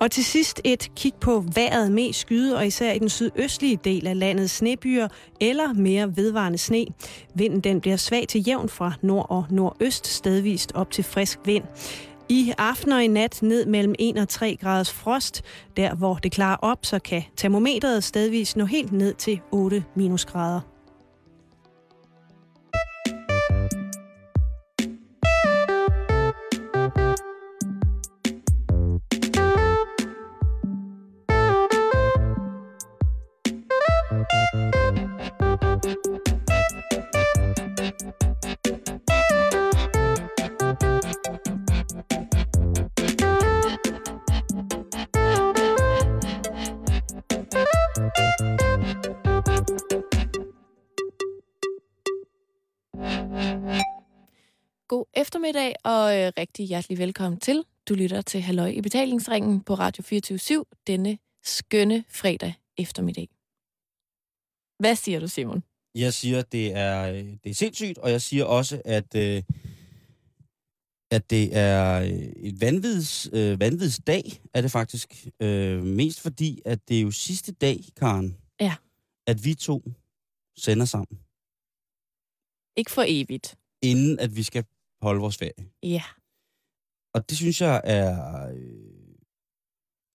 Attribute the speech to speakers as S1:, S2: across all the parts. S1: Og til sidst et kig på vejret med skyde, og især i den sydøstlige del af landet snebyer eller mere vedvarende sne. Vinden den bliver svag til jævn fra nord og nordøst, stedvist op til frisk vind. I aften og i nat ned mellem 1 og 3 graders frost. Der hvor det klarer op, så kan termometret stedvis nå helt ned til 8 minusgrader.
S2: God eftermiddag og øh, rigtig hjertelig velkommen til. Du lytter til Halløj i betalingsringen på Radio 24 denne skønne fredag eftermiddag. Hvad siger du, Simon?
S3: Jeg siger, det er, øh, det er sindssygt, og jeg siger også, at, øh, at det er øh, et vanvids, øh, vanvidsdag, er det faktisk. Øh, mest fordi, at det er jo sidste dag, Karen,
S2: Ja.
S3: at vi to sender sammen,
S2: Ikke for evigt.
S3: inden at vi skal holde vores ferie.
S2: Ja.
S3: Og det synes jeg er øh,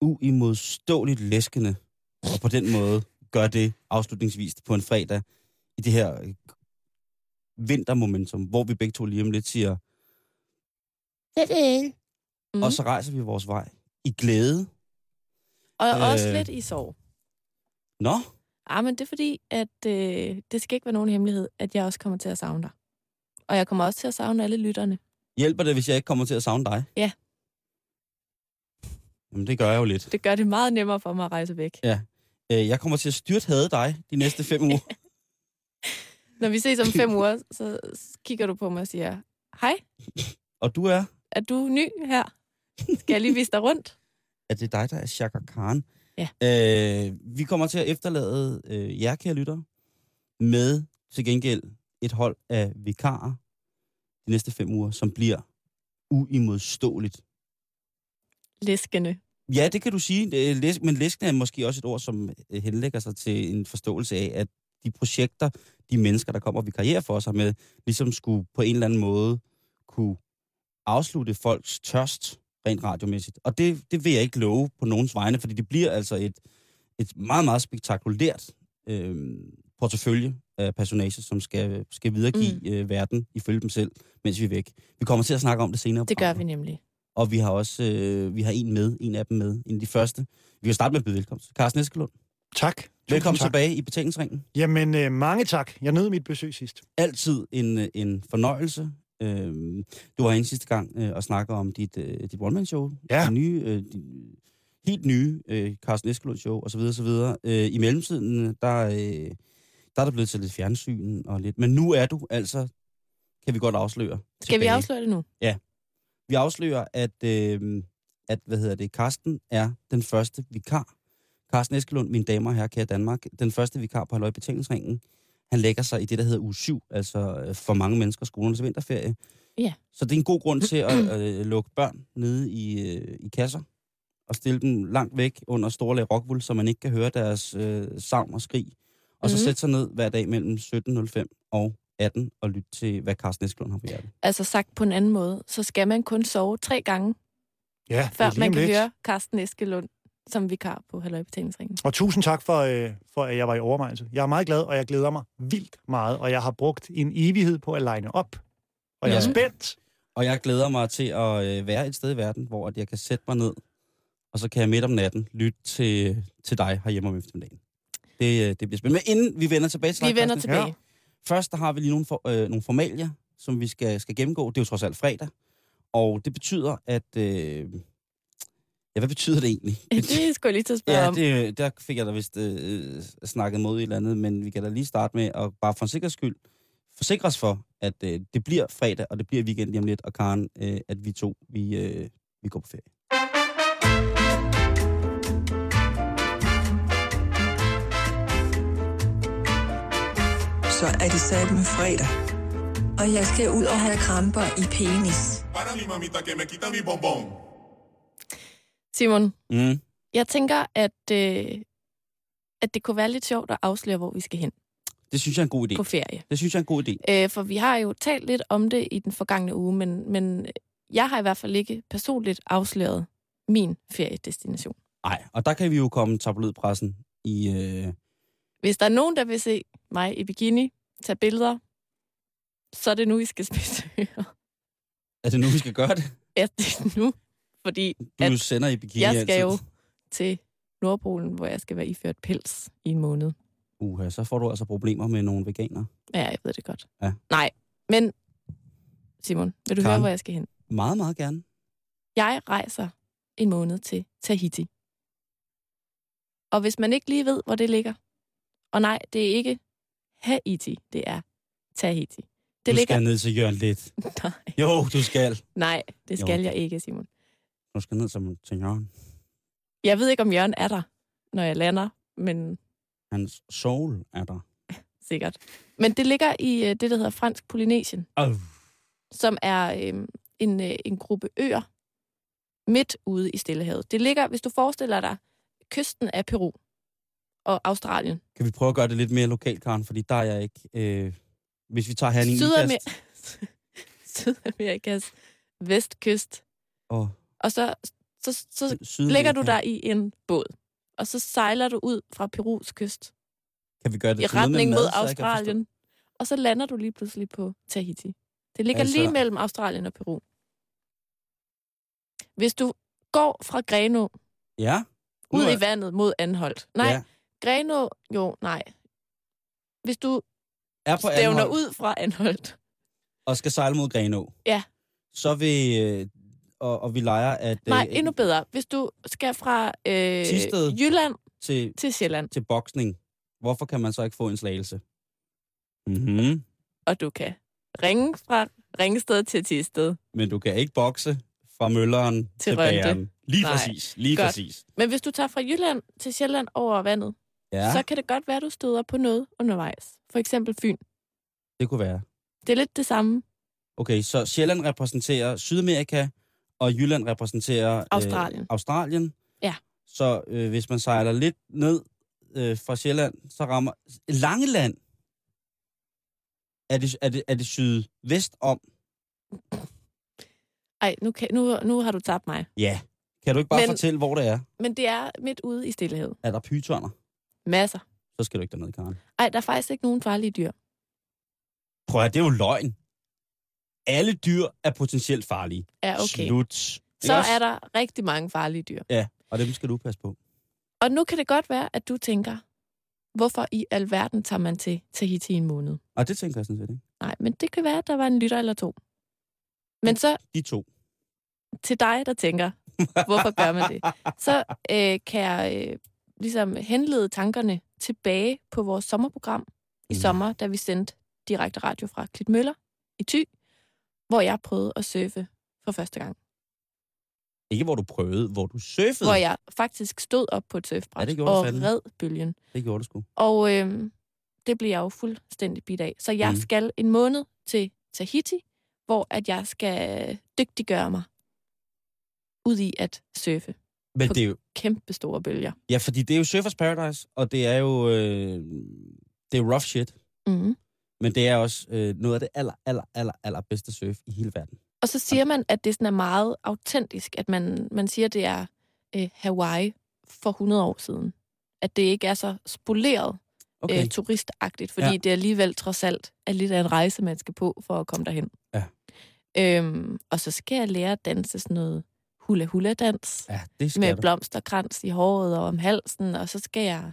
S3: uimodståeligt læskende, og på den måde gør det afslutningsvis på en fredag i det her øh, vintermomentum, hvor vi begge to lige om lidt siger,
S2: Mm.
S3: mm. og så rejser vi vores vej i glæde.
S2: og øh... også
S3: øh,
S2: lidt i sorg.
S3: Nå,
S2: Ah, men det er fordi, at øh, det skal ikke være nogen hemmelighed, at jeg også kommer til at savne dig. Og jeg kommer også til at savne alle lytterne.
S3: hjælper det, hvis jeg ikke kommer til at savne dig?
S2: Ja.
S3: Jamen, det gør jeg jo lidt.
S2: Det gør det meget nemmere for mig at rejse væk.
S3: Øh, Jeg kommer til at styrt hade dig de næste fem uger.
S2: Når vi ses om fem uger, så kigger du på mig og siger, hej,
S3: Og du er,
S2: er du ny her? Skal jeg lige vise dig rundt?
S3: at det er dig, der er Chaka Khan.
S2: Ja.
S3: Øh, vi kommer til at efterlade øh, jer, kære lyttere, med til gengæld et hold af vikarer de næste fem uger, som bliver uimodståeligt.
S2: Læskende.
S3: Ja, det kan du sige, Det er læs- men læskende er måske også et ord, som øh, henlægger sig til en forståelse af, at de projekter, de mennesker, der kommer og vikarierer for sig med, ligesom skulle på en eller anden måde kunne afslutte folks tørst rent radiomæssigt. Og det, det vil jeg ikke love på nogens vegne, fordi det bliver altså et, et meget, meget spektakulært øh, portefølje af personager, som skal, skal videregive mm. øh, verden ifølge dem selv, mens vi er væk. Vi kommer til at snakke om det senere. på
S2: Det gør
S3: programmet.
S2: vi nemlig.
S3: Og vi har også øh, vi har en med, en af dem med, en af de første. Vi kan starte med at byde velkommen. Carsten Eskelund,
S4: Tak. Tusind
S3: velkommen
S4: tak.
S3: tilbage i betalingsringen.
S4: Jamen, øh, mange tak. Jeg nød mit besøg sidst.
S3: Altid en, øh, en fornøjelse. Øhm, du var inde sidste gang øh, og snakke om dit, øh, dit one-man-show.
S4: Ja.
S3: Det nye, øh, din, helt nye øh, Carsten Eskelund-show osv. osv. Øh, I mellemtiden, der, øh, der er der blevet til lidt fjernsyn og lidt... Men nu er du altså, kan vi godt afsløre.
S2: Skal vi
S3: tilbage.
S2: afsløre det nu?
S3: Vi afslører, at, øh, at hvad hedder det, Karsten er den første vikar. Karsten Eskelund, mine damer og herrer, kære Danmark, den første vikar på Halløj Betalingsringen. Han lægger sig i det, der hedder uge 7, altså øh, for mange mennesker skolernes vinterferie.
S2: Ja.
S3: Så det er en god grund til at øh, lukke børn nede i, øh, i kasser og stille dem langt væk under store lag rockwool, så man ikke kan høre deres øh, savn og skrig. Og så
S2: Mhm.
S3: sætte sig ned hver dag mellem 17.05 og 18 og lytte til, hvad Carsten Eskelund har på hjertet.
S2: Altså sagt på en anden måde, så skal man kun sove tre gange,
S4: Ja, det er
S2: før
S4: lige
S2: man
S4: om
S2: kan
S4: lidt.
S2: høre Carsten Eskelund som vikar på Halløj Betalingsringen.
S4: Og tusind tak for, øh, for, at jeg var i overvejelse. Jeg er meget glad, og jeg glæder mig vildt meget, og jeg har brugt en evighed på at line op. Og jeg er
S3: Ja.
S4: spændt.
S3: Og jeg glæder mig til at øh, være et sted i verden, hvor at jeg kan sætte mig ned, og så kan jeg midt om natten lytte til, til dig herhjemme om eftermiddagen. Det, øh, det bliver spændende. Men inden vi vender tilbage til dig,
S2: Vi vender
S3: Carsten,
S2: tilbage.
S3: Først der har vi lige nogle, for, øh, nogle formalier, som vi skal, skal gennemgå. Det er jo trods alt fredag. Og det betyder, at... Øh, ja, hvad betyder det egentlig?
S2: Det skulle jeg lige til at spørge
S3: Ja,
S2: om.
S3: det, der fik jeg da vist øh, snakket mod i et eller andet, men vi kan da lige starte med at bare for en sikkerheds skyld forsikre os for, at øh, det bliver fredag, og det bliver weekend lige om lidt, og Karen, øh, at vi to, vi, øh, vi går på ferie.
S5: Så er det sat med fredag. Og jeg skal ud og have kramper i penis.
S6: Para mi mamita que me quita mi bombón.
S2: Simon,
S3: Mm.
S2: jeg tænker, at, øh, at det kunne være lidt sjovt at afsløre, hvor vi skal hen
S3: Det synes jeg er en god idé.
S2: på ferie.
S3: Det synes jeg er en god idé.
S2: Øh, for vi har jo talt lidt om det i den forgangne uge, men, men jeg har i hvert fald ikke personligt afsløret min feriedestination.
S3: Nej, og der kan vi jo komme tabloidpressen i... Øh...
S2: Hvis der er nogen, der vil se mig i bikini, tage billeder, så er det nu, I skal spidse ører.
S3: Er det nu, vi skal gøre det?
S2: Ja, det er nu, fordi
S3: Du
S2: At
S3: at... sender i bikini
S2: jeg skal
S3: altid.
S2: jo til Nordpolen, hvor jeg skal være iført pels i en måned.
S3: Uha, så får du altså problemer med nogle veganere.
S2: Ja, jeg ved det godt.
S3: Ja.
S2: Nej, men Simon, vil du Karen. høre,
S3: Karen.
S2: hvor jeg skal hen?
S3: Meget, meget gerne.
S2: Jeg rejser en måned til Tahiti. Og hvis man ikke lige ved, hvor det ligger, og nej, det er ikke Haiti, det er Tahiti. Det
S3: du
S2: ligger...
S3: skal ned til Jørgen lidt.
S2: Nej,
S3: Jo, du skal.
S2: nej, det
S3: Jo.
S2: skal jeg ikke, Simon.
S3: Du skal ned som, til Jørgen.
S2: Jeg ved ikke, om Jørgen er der, når jeg lander, men
S3: Hans soul er der.
S2: sikkert. Men det ligger i øh, det, der hedder Fransk Polynesien.
S3: Oh.
S2: som er øh, en, øh, en gruppe øer midt ude i Stillehavet. Det ligger, hvis du forestiller dig, kysten af Peru og Australien.
S3: Kan vi prøve at gøre det lidt mere lokalt, Karen? Fordi der er jeg ikke... Øh... Hvis vi tager herren i Ikast...
S2: Sydamer- Sydamerikas vestkyst.
S3: Og
S2: Og så, så, så
S3: Sydamerika.
S2: lægger du dig i en båd, og så sejler du ud fra Perus kyst
S3: Kan vi gøre det
S2: i
S3: til noget med
S2: retning mod
S3: mad, så jeg kan
S2: Australien, og så lander du lige pludselig på Tahiti. Det ligger altså...
S3: Altså-
S2: lige mellem Australien og Peru. Hvis du går fra Grenå
S3: forstå- Ja. Nu
S2: Ud
S3: er-
S2: i vandet mod Anholdt. Nej, ja.
S3: Ja.
S2: Grenå, jo, nej. Hvis du
S3: Er på
S2: stævner
S3: Anholt
S2: ud fra Anholdt.
S3: Og skal sejle mod Grenå.
S2: Ja.
S3: Så vil... Øh... Og, og, vi leger, at... øh,
S2: Nej, endnu bedre. Hvis du skal fra øh,
S3: Thisted.
S2: Jylland
S3: Til,
S2: til Sjælland,
S3: til boksning. Hvorfor kan man så ikke få en slagelse? Mm-hmm.
S2: og du kan ringe fra Ringsted til Tisted.
S3: Men du kan ikke bokse fra mølleren til, til
S2: Rønde.
S3: bageren. Lige
S2: Nej.
S3: præcis. Lige
S2: Godt.
S3: præcis.
S2: Men hvis du tager fra Jylland til Sjælland over vandet, ja.
S3: Ja,
S2: så kan det godt være, at du støder på noget undervejs. For eksempel Fyn.
S3: det kunne være.
S2: Det er lidt det samme.
S3: Okay, så Sjælland repræsenterer Sydamerika, og Jylland repræsenterer...
S2: Australien.
S3: Øh, Australien.
S2: Ja.
S3: Så øh, hvis man sejler lidt ned øh, fra Sjælland, så rammer... Langeland! Er det, er det, er det sydvest om?
S2: Ej, nu, kan, nu, nu har du tabt mig.
S3: Ja. Kan du ikke bare
S2: Men-
S3: Men... fortælle, hvor det er?
S2: Men det er midt ude i stillehavet.
S3: Er der pytoner?
S2: Masser.
S3: Så skal du ikke derned, Karen.
S2: Ej, der er faktisk ikke nogen farlige dyr.
S3: Prøv at høre, det er jo løgn. Alle dyr er potentielt farlige.
S2: Ja, okay.
S3: Slut.
S2: Så er der rigtig mange farlige dyr.
S3: Og dem skal du passe på.
S2: Og nu kan det godt være, at du tænker, hvorfor i alverden tager man til Tahiti i en måned?
S3: Og det tænker jeg sådan set, ikke?
S2: Nej, men det kan være, at der var en lytter eller to. Men så
S3: De to.
S2: til dig, der tænker, hvorfor gør man det? Så øh, kan jeg øh, ligesom henlede tankerne tilbage på vores sommerprogram i
S3: Mm.
S2: sommer, da vi sendte direkte radio fra Klitmøller i Thy, hvor jeg prøvede at surfe for første gang.
S3: Mm. Ikke hvor du prøvede, hvor du surfede.
S2: Hvor jeg faktisk stod op på et
S3: Ja,
S2: surfbræt
S3: det gjorde du
S2: og
S3: fandme.
S2: red bølgen.
S3: Det gjorde du sgu.
S2: Og øhm, det bliver jeg jo fuldstændig bidt af. Så jeg mm.
S3: Mm.
S2: skal en måned til Tahiti, hvor at jeg skal dygtiggøre mig ud i at surfe
S3: Men
S2: På-
S3: det er jo,
S2: kæmpe store bølger.
S3: ja, fordi det er jo Surfers Paradise, og det er jo øh, det er rough shit.
S2: Mm.
S3: Men det er også øh, noget af det aller, aller, aller, aller bedste surf i hele verden.
S2: Og så siger man, at det sådan er meget autentisk, at man, man siger, at det er øh, Hawaii for 100 år siden. At det ikke er så spoleret okay.
S3: Okay.
S2: øh, turistagtigt, fordi ja.
S3: Ja.
S2: det alligevel trods alt er lidt af en rejse, man skal på for at komme derhen.
S3: Ja.
S2: Øhm, og så skal jeg lære at danse sådan noget hula-hula-dans.
S3: ja, det skal
S2: med
S3: du.
S2: blomsterkrans i håret og om halsen, og så skal jeg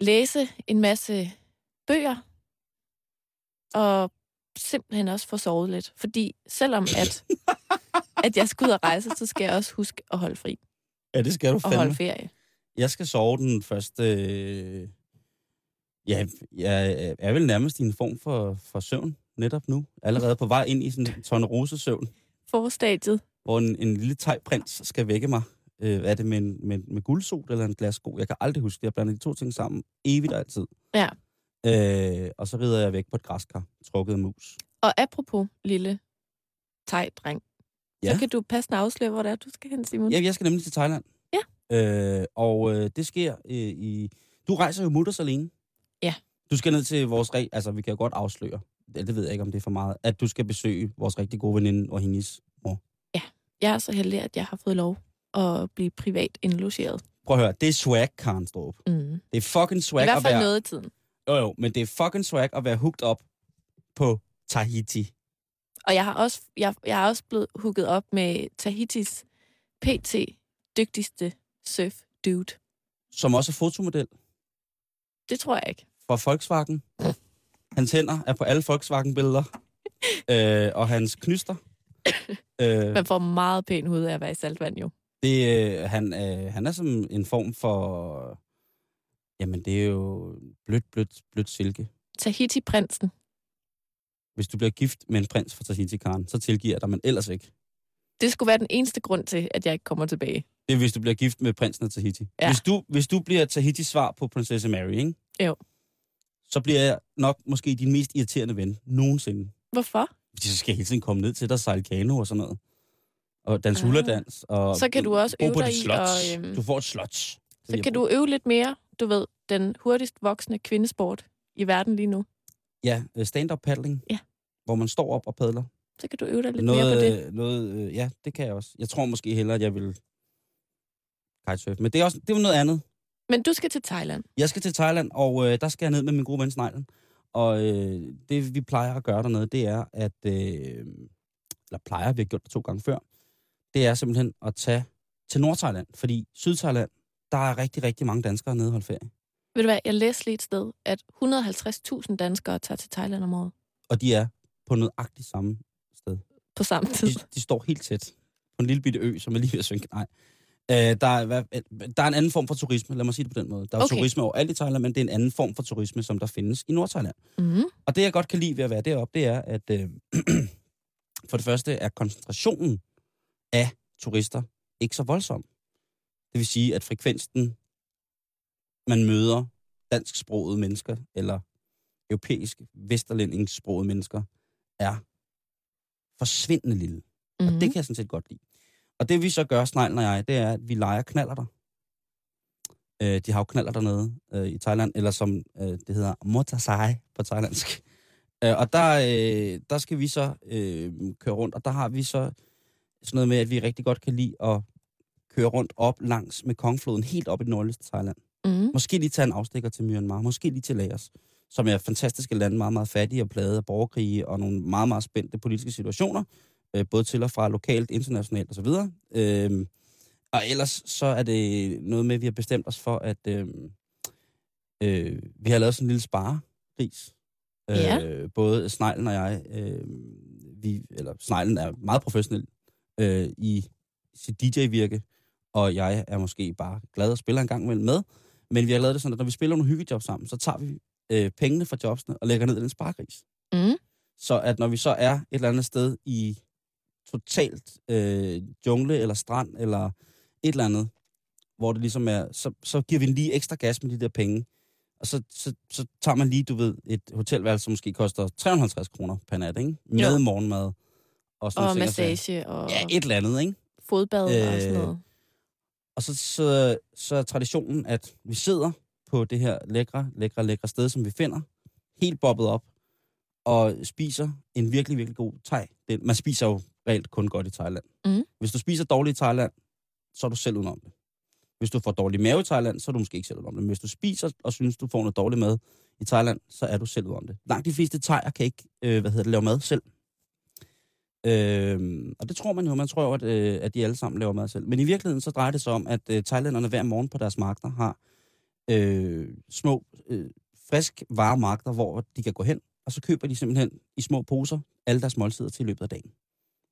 S2: læse en masse bøger, og simpelthen også få sovet lidt. Fordi selvom at, at jeg skal ud og rejse, så skal jeg også huske at holde fri
S3: Ja, det skal du
S2: og holde
S3: fandme.
S2: ferie.
S3: Jeg skal sove den første... Øh, ja, jeg er vel nærmest i en form for, for søvn netop nu. Allerede på vej ind i sådan en tonne rosesøvn,
S2: Forstadiet.
S3: hvor en, en lille tegprins skal vække mig. Øh, er det med, en, med, med guldsot eller en glassko? Jeg kan aldrig huske det. Jeg blander de to ting sammen evigt og altid.
S2: Ja.
S3: Øh, og så rider jeg væk på et græskar, trukket af mus.
S2: Og apropos lille teg dreng, Ja. Så kan du passende afsløre, hvor det er, du skal hen, Simon.
S3: Ja, jeg skal nemlig til Thailand. Ja. Øh, og øh, det sker øh, i... Du rejser jo mutters alene.
S2: Ja.
S3: Du skal ned til vores... Re... Altså, vi kan jo godt afsløre, ja, det ved jeg ikke, om det er for meget, at du skal besøge vores rigtig gode veninde og hendes mor.
S2: Jeg er så heldig, at jeg har fået lov at blive privat indlogeret.
S3: Prøv at høre, det er swag, Karen Strup.
S2: Mm.
S3: Det er fucking swag
S2: I hvert
S3: at
S2: fald
S3: være...
S2: noget af tiden.
S3: Jo, jo, men det er fucking swag at være hooked op på Tahiti.
S2: Og jeg har også, jeg, jeg er også blevet hooket op med Tahitis PT dygtigste surf dude.
S3: Som også er fotomodel
S2: Det tror jeg ikke.
S3: fra Volkswagen. Hans hænder er på alle Volkswagen-billeder. øh, og hans knyster. øh,
S2: Man får meget pæn hud af at være i saltvand jo.
S3: Det, øh, han, øh, han er som en form for... Jamen, det er jo blødt, blødt, blødt silke.
S2: Tahiti-prinsen.
S3: Hvis du bliver gift med en prins fra Tahiti, Karen, så tilgiver jeg dig, men ellers ikke.
S2: Det skulle være den eneste grund til, at jeg ikke kommer tilbage.
S3: Det er, hvis du bliver gift med prinsen af Tahiti.
S2: Ja.
S3: Hvis, du, hvis du bliver Tahitis svar på prinsesse Mary, ikke?
S2: Jo.
S3: Så bliver jeg nok måske din mest irriterende ven nogensinde.
S2: Hvorfor?
S3: Fordi så skal jeg hele tiden komme ned til dig og sejle kano og sådan noget. Og danse
S2: Ah.
S3: huladans. Og
S2: Så kan du også
S3: bo
S2: øve
S3: på
S2: dig
S3: dit
S2: i
S3: slot.
S2: at, øhm,
S3: Du får et slot.
S2: Så kan du øve lidt mere, du ved, den hurtigst voksende kvindesport i verden lige nu.
S3: Ja, øh, stand-up paddling.
S2: Ja.
S3: Hvor man står op og padler.
S2: Så kan du øve dig lidt
S3: noget,
S2: mere på det.
S3: øh, Noget, øh, ja, det kan jeg også. Jeg tror måske hellere, at jeg vil kitesurfe. Men det er, også, det er jo noget andet.
S2: Men du skal til Thailand.
S3: Jeg skal til Thailand, og øh, der skal jeg ned med min gode ven Sneglen. Og øh, det, vi plejer at gøre dernede, det er, at... Øh, eller plejer, vi har gjort det to gange før. Det er simpelthen at tage til Nord-Thailand. Fordi Syd-Thailand, der er rigtig, rigtig mange danskere nede og holde ferie.
S2: Ved du hvad, jeg læste lige et sted, at 150.000 danskere tager til Thailand om året
S3: Og de er på nøjagtigt samme sted.
S2: på samme tid.
S3: De, de står helt tæt på en lille bitte ø, som er lige ved at synke. Nej. Øh, der, er, hvad- der er en anden form for turisme, lad mig sige det på den måde. Der er okay.
S2: Okay.
S3: turisme overalt i Thailand, men det er en anden form for turisme, som der findes i Nord-Thailand.
S2: Mm.
S3: Og det, jeg godt kan lide ved at være deroppe, det er, at øh, for det første er koncentrationen af turister ikke så voldsom. Det vil sige, at frekvensen, man møder dansksprogede mennesker, eller europæisk vesterlændingssprogede mennesker, er forsvindende lille.
S2: Mm.
S3: Mm. Det kan jeg sådan set godt lide. Og det vi så gør, Sneglen og jeg, det er, at vi leger knaller der. Øh, de har jo knaller dernede øh, i Thailand, eller som øh, det hedder, motasai på thailandsk. Øh, og der, øh, der skal vi så øh, køre rundt, og der har vi så sådan noget med, at vi rigtig godt kan lide at køre rundt op langs med Kongfloden, helt op i det nordligste Thailand.
S2: Mm.
S3: Måske lige tage en afstikker til Myanmar, måske lige til Laos, som er fantastiske lande, meget, meget fattige og plade af borgerkrige og nogle meget, meget spændte politiske situationer, øh, både til og fra lokalt, internationalt osv. Øh, og ellers så er det noget med, at vi har bestemt os for, at øh, øh, vi har lavet sådan en lille sparegris. Øh,
S2: Ja.
S3: Både Sneglen og jeg, øh, vi, eller Sneglen er meget professionel øh, i sit DJ-virke, og jeg er måske bare glad og spiller en gang imellem med. Men vi har lavet det sådan, at når vi spiller nogle hyggejob sammen, så tager vi øh, pengene fra jobsene og lægger ned i den sparegris.
S2: Mm.
S3: Så at når vi så er et eller andet sted i totalt øh, jungle eller strand eller et eller andet, hvor det ligesom er, så, så giver vi den lige ekstra gas med de der penge. Og så, så, så tager man lige, du ved, et hotelværelse, som måske koster 350 kroner per nat, ikke? Med
S2: Jo.
S3: morgenmad og sådan
S2: Og
S3: nogle ting og sager.
S2: massage og
S3: Ja, et eller andet, ikke?
S2: fodbad og
S3: Øh,
S2: sådan noget.
S3: Og så, så, så er traditionen, at vi sidder på det her lækre, lækre, lækre sted, som vi finder, helt bobbet op, og spiser en virkelig, virkelig god thai. Det, man spiser jo reelt kun godt i Thailand.
S2: Mm.
S3: Hvis du spiser dårligt i Thailand, så er du selv udenom det. Hvis du får dårlig mave i Thailand, så er du måske ikke selv udenom det. Men hvis du spiser og synes, du får noget dårlig mad i Thailand, så er du selv udenom det. Langt de fleste thaier kan ikke øh, hvad hedder det, lave mad selv. Øhm, og det tror man jo. Man tror jo, at, øh, at de alle sammen laver mad selv. Men i virkeligheden så drejer det sig om, at øh, thailænderne hver morgen på deres markeder har øh, små, øh, frisk varemarkeder, hvor de kan gå hen, og så køber de simpelthen i små poser alle deres måltider til i løbet af dagen.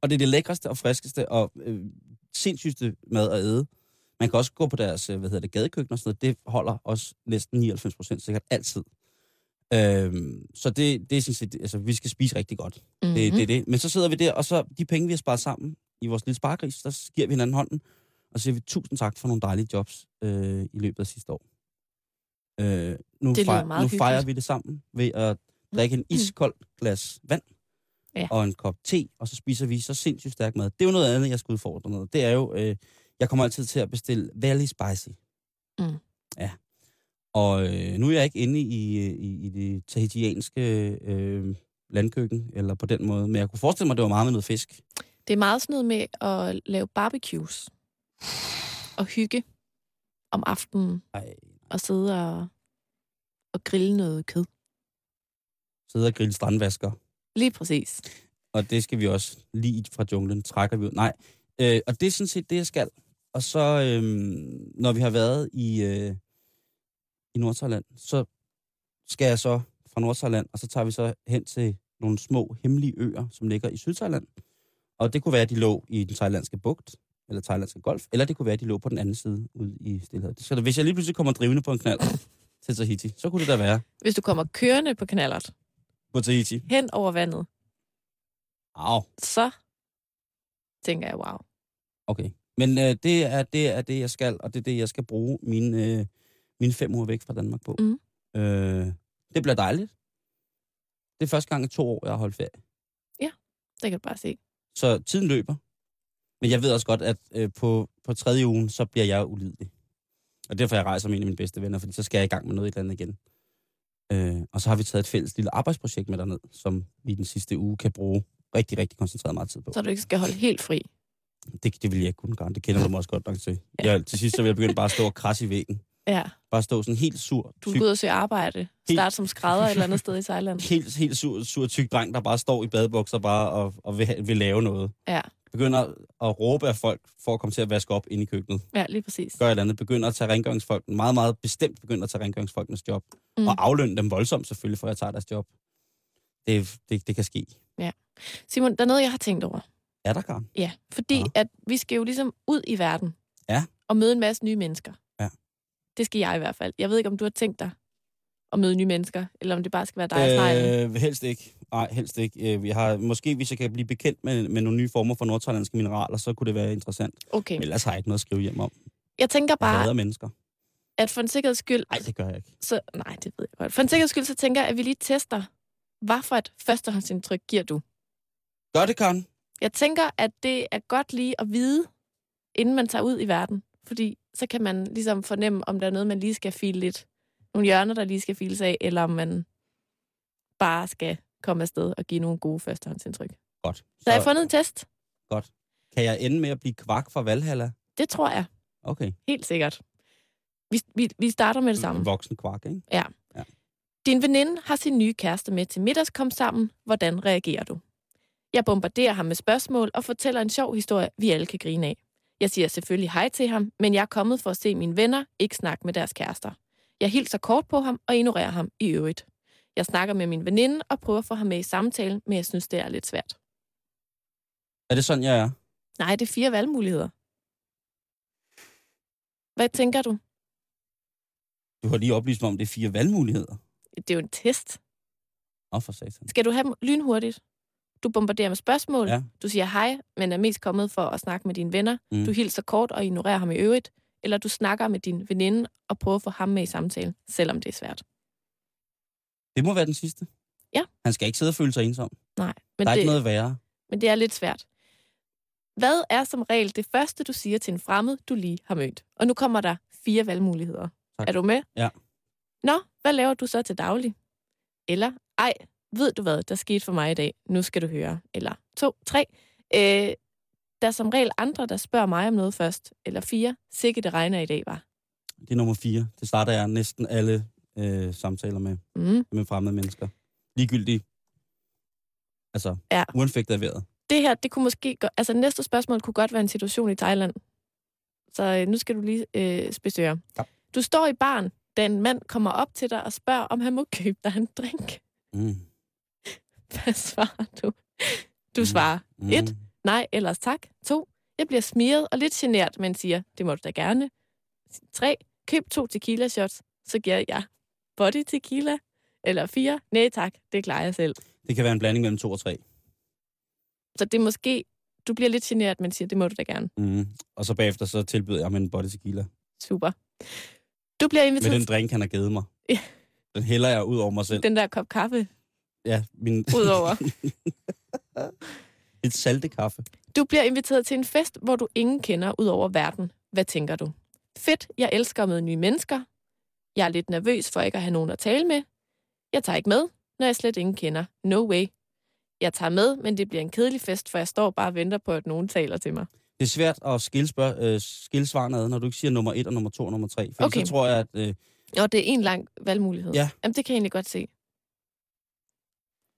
S3: Og det er det lækreste og friskeste og øh, sindssygste mad at æde. Man kan også gå på deres øh, hvad hedder det, gadekøkken og sådan noget. Det holder også næsten 99 procent sikkert altid. Øhm, så det, det er sådan set, altså, vi skal spise rigtig godt.
S2: Mm.
S3: Det, det er det. Men så sidder vi der, og så de penge, vi har sparet sammen i vores lille sparegris, der giver vi hinanden hånden, og så siger vi tusind tak for nogle dejlige jobs øh, i løbet af sidste år. Øh, nu
S2: Det lyder
S3: fejrer,
S2: meget
S3: nu fejrer
S2: hyggeligt.
S3: vi det sammen ved at drikke en iskold glas vand,
S2: Ja.
S3: og en kop te, og så spiser vi så sindssygt stærk mad. Det er jo noget andet, jeg skal udfordre noget. Det er jo, øh, jeg kommer altid til at bestille Valley Spicy.
S2: Mm.
S3: Ja. Og øh, nu er jeg ikke inde i, øh, i, i det tahitianske øh, landkøkken, eller på den måde, men jeg kunne forestille mig, at det var meget med noget fisk.
S2: Det er meget sådan noget med at lave barbecues og hygge om aftenen
S3: Ej,
S2: og sidde og, og grille noget kød.
S3: sidde og grille strandvasker.
S2: Lige præcis.
S3: og det skal vi også lige fra junglen, trækker vi ud. Nej, øh, og det er sådan set det, jeg skal. Og så, øh, når vi har været i, øh, i Nordsjælland, så skal jeg så fra Nordsjælland, og så tager vi så hen til nogle små hemmelige øer, som ligger i Sydthailand. Og det kunne være, at de lå i den thailandske bugt, eller thailandske golf, eller det kunne være, at de lå på den anden side ude i Stillehavet. Så hvis jeg lige pludselig kommer drivende på en knald til Tahiti, så kunne det da være
S2: Hvis du kommer kørende på knallert
S3: på Tahiti.
S2: hen over vandet,
S3: Au.
S2: så tænker jeg, wow.
S3: Okay. Men øh, det, er, det er det, jeg skal, og det er det, jeg skal bruge mine, øh, mine fem uger væk fra Danmark på.
S2: Mhm.
S3: Øh, det bliver dejligt. Det er første gang i to år, jeg har holdt ferie.
S2: Det kan du bare se.
S3: Så tiden løber. Men jeg ved også godt, at øh, på, på tredje ugen, så bliver jeg ulidelig. Og derfor jeg rejser med en af mine bedste venner, fordi så skal jeg i gang med noget et eller andet igen. Øh, og så har vi taget et fælles lille arbejdsprojekt med derned, som vi den sidste uge kan bruge rigtig, rigtig koncentreret meget tid på.
S2: Så du ikke skal holde helt fri.
S3: Det, det vil jeg ikke kunne gøre. Det kender du mig også godt nok til. Jeg, til sidst så vil jeg begynde bare at stå og krasse i væggen.
S2: Ja,
S3: Bare stå sådan helt sur,
S2: du
S3: tyk,
S2: er ud og søge arbejde. Start som skrædder et eller andet sted i Thailand.
S3: helt, helt sur, sur tyk dreng, der bare står i badebukser bare og, og vil, ha- vil, lave noget.
S2: Ja.
S3: Begynder at råbe af folk for at komme til at vaske op inde i køkkenet.
S2: Ja, lige præcis.
S3: Gør et eller andet. Begynder at tage rengøringsfolk, meget, meget bestemt begynder at tage rengøringsfolkenes job.
S2: Mm.
S3: Mm. Og aflønne dem voldsomt selvfølgelig, for jeg tager deres job. Det, det, det kan ske.
S2: Simon, der er noget, jeg har tænkt over.
S3: Er der, Karen?
S2: Ja, fordi
S3: Nå.
S2: at vi skal jo ligesom ud i verden.
S3: Ja.
S2: Og møde en masse nye mennesker.
S3: Ja.
S2: Det skal jeg i hvert fald. Jeg ved ikke, om du har tænkt dig at møde nye mennesker, eller om det bare skal være dig og sneglen.
S3: Øh, helst ikke. Nej, helst ikke. Øh, vi har, måske hvis jeg kan blive bekendt med, med nogle nye former for nordthailandske mineraler, så kunne det være interessant.
S2: Okay.
S3: Ellers har jeg ikke noget at skrive hjem om.
S2: Jeg tænker
S3: Jeg hader
S2: bare,
S3: mennesker.
S2: at for en sikkerheds skyld...
S3: Nej, det gør jeg ikke.
S2: Så, nej, det ved jeg godt. For en sikkerheds skyld, så tænker jeg, at vi lige tester, hvad for et førstehåndsindtryk giver du?
S3: Gør det, Karen.
S2: Jeg tænker, at det er godt lige at vide, inden man tager ud i verden. Fordi så kan man ligesom fornemme, om der er noget, man lige skal file lidt. Nogle hjørner, der lige skal files af, eller om man bare skal komme afsted og give nogle gode førstehåndsindtryk. Så,
S3: Godt.
S2: så har jeg fundet en test.
S3: Kan jeg ende med at blive kvak fra Valhalla?
S2: Det tror jeg.
S3: Okay.
S2: Helt sikkert. Vi, vi, vi starter med det samme.
S3: En voksen kvak, ikke?
S2: Din veninde har sin nye kæreste med til middagskom sammen. Hvordan reagerer du? Jeg bombarderer ham med spørgsmål og fortæller en sjov historie, vi alle kan grine af. Jeg siger selvfølgelig hej til ham, men jeg er kommet for at se mine venner, ikke snakke med deres kærester. Jeg hilser kort på ham og ignorerer ham i øvrigt. Jeg snakker med min veninde og prøver at få ham med i samtalen, men jeg synes, det er lidt svært.
S3: Er det sådan, jeg er?
S2: Nej, det er fire valgmuligheder. Hvad tænker du?
S3: Du har lige oplyst mig om, det er fire valgmuligheder.
S2: Det er jo en test.
S3: Nå, for satan.
S2: Skal du have dem lynhurtigt? Du bombarderer med spørgsmål.
S3: Ja.
S2: Du siger hej, men er mest kommet for at snakke med dine venner.
S3: Mm.
S2: Du hilser kort og ignorerer ham i øvrigt. Eller du snakker med din veninde og prøver at få ham med i samtalen, selvom det er svært.
S3: Det må være den sidste.
S2: Ja.
S3: Han skal ikke sidde og føle sig ensom.
S2: Nej,
S3: Men
S2: men,
S3: der er det...
S2: det,
S3: ikke noget værre.
S2: men det er lidt svært. Hvad er som regel det første, du siger til en fremmed, du lige har mødt? Og nu kommer der fire valgmuligheder.
S3: Tak.
S2: Er du med?
S3: Ja.
S2: Nå, hvad laver du så til daglig? Eller, ej, ved du hvad, der skete for mig i dag? Nu skal du høre. Eller to, tre. Øh, der er som regel andre, der spørger mig om noget først. Eller fire, sikke det regner i dag, var.
S3: Det er nummer fire. Det starter jeg næsten alle øh, samtaler med,
S2: Mm.
S3: med fremmede mennesker. Ligegyldigt. Altså,
S2: Ja.
S3: uanfægtet af vejret.
S2: Det her, det kunne måske... Gå, altså, næste spørgsmål kunne godt være en situation i Thailand. Så øh, nu skal du lige øh, spidse ører.
S3: Ja.
S2: Du står i baren, da en mand kommer op til dig og spørger, om han må købe dig en drink.
S3: Mm.
S2: Hvad svarer du? Du
S3: Mm.
S2: svarer,
S3: Mm.
S2: Et. Nej, ellers tak. 2. Jeg bliver smiret og lidt genert, men siger, det må du da gerne. 3. Køb to tequila shots, så giver jeg body tequila. Eller 4. Nej tak, det klarer jeg selv.
S3: Det kan være en blanding mellem to og tre.
S2: Så det er måske, du bliver lidt genert, men siger, det må du da gerne.
S3: Mm. Og så bagefter så tilbyder jeg ham en body tequila.
S2: Super. Du bliver
S3: Med
S2: inviteret
S3: den drink, han har givet mig.
S2: Ja.
S3: Den hælder jeg ud over mig selv.
S2: den der kop kaffe
S3: Ja, min...
S2: ud over.
S3: Et saltekaffe.
S2: Du bliver inviteret til en fest, hvor du ingen kender ud over verden. Hvad tænker du? Fedt, jeg elsker at møde nye mennesker. Jeg er lidt nervøs for ikke at have nogen at tale med. Jeg tager ikke med, når jeg slet ingen kender. No way. Jeg tager med, men det bliver en kedelig fest, for jeg står bare og venter på, at nogen taler til mig.
S3: Det er svært at skille, spørg- øh, skille svarene ad, når du ikke siger nummer 1 og nummer 2 og nummer 3. For
S2: Okay.
S3: okay. så tror jeg, at... Øh,
S2: Og det er en lang valgmulighed.
S3: Ja.
S2: Jamen, det kan jeg egentlig godt se.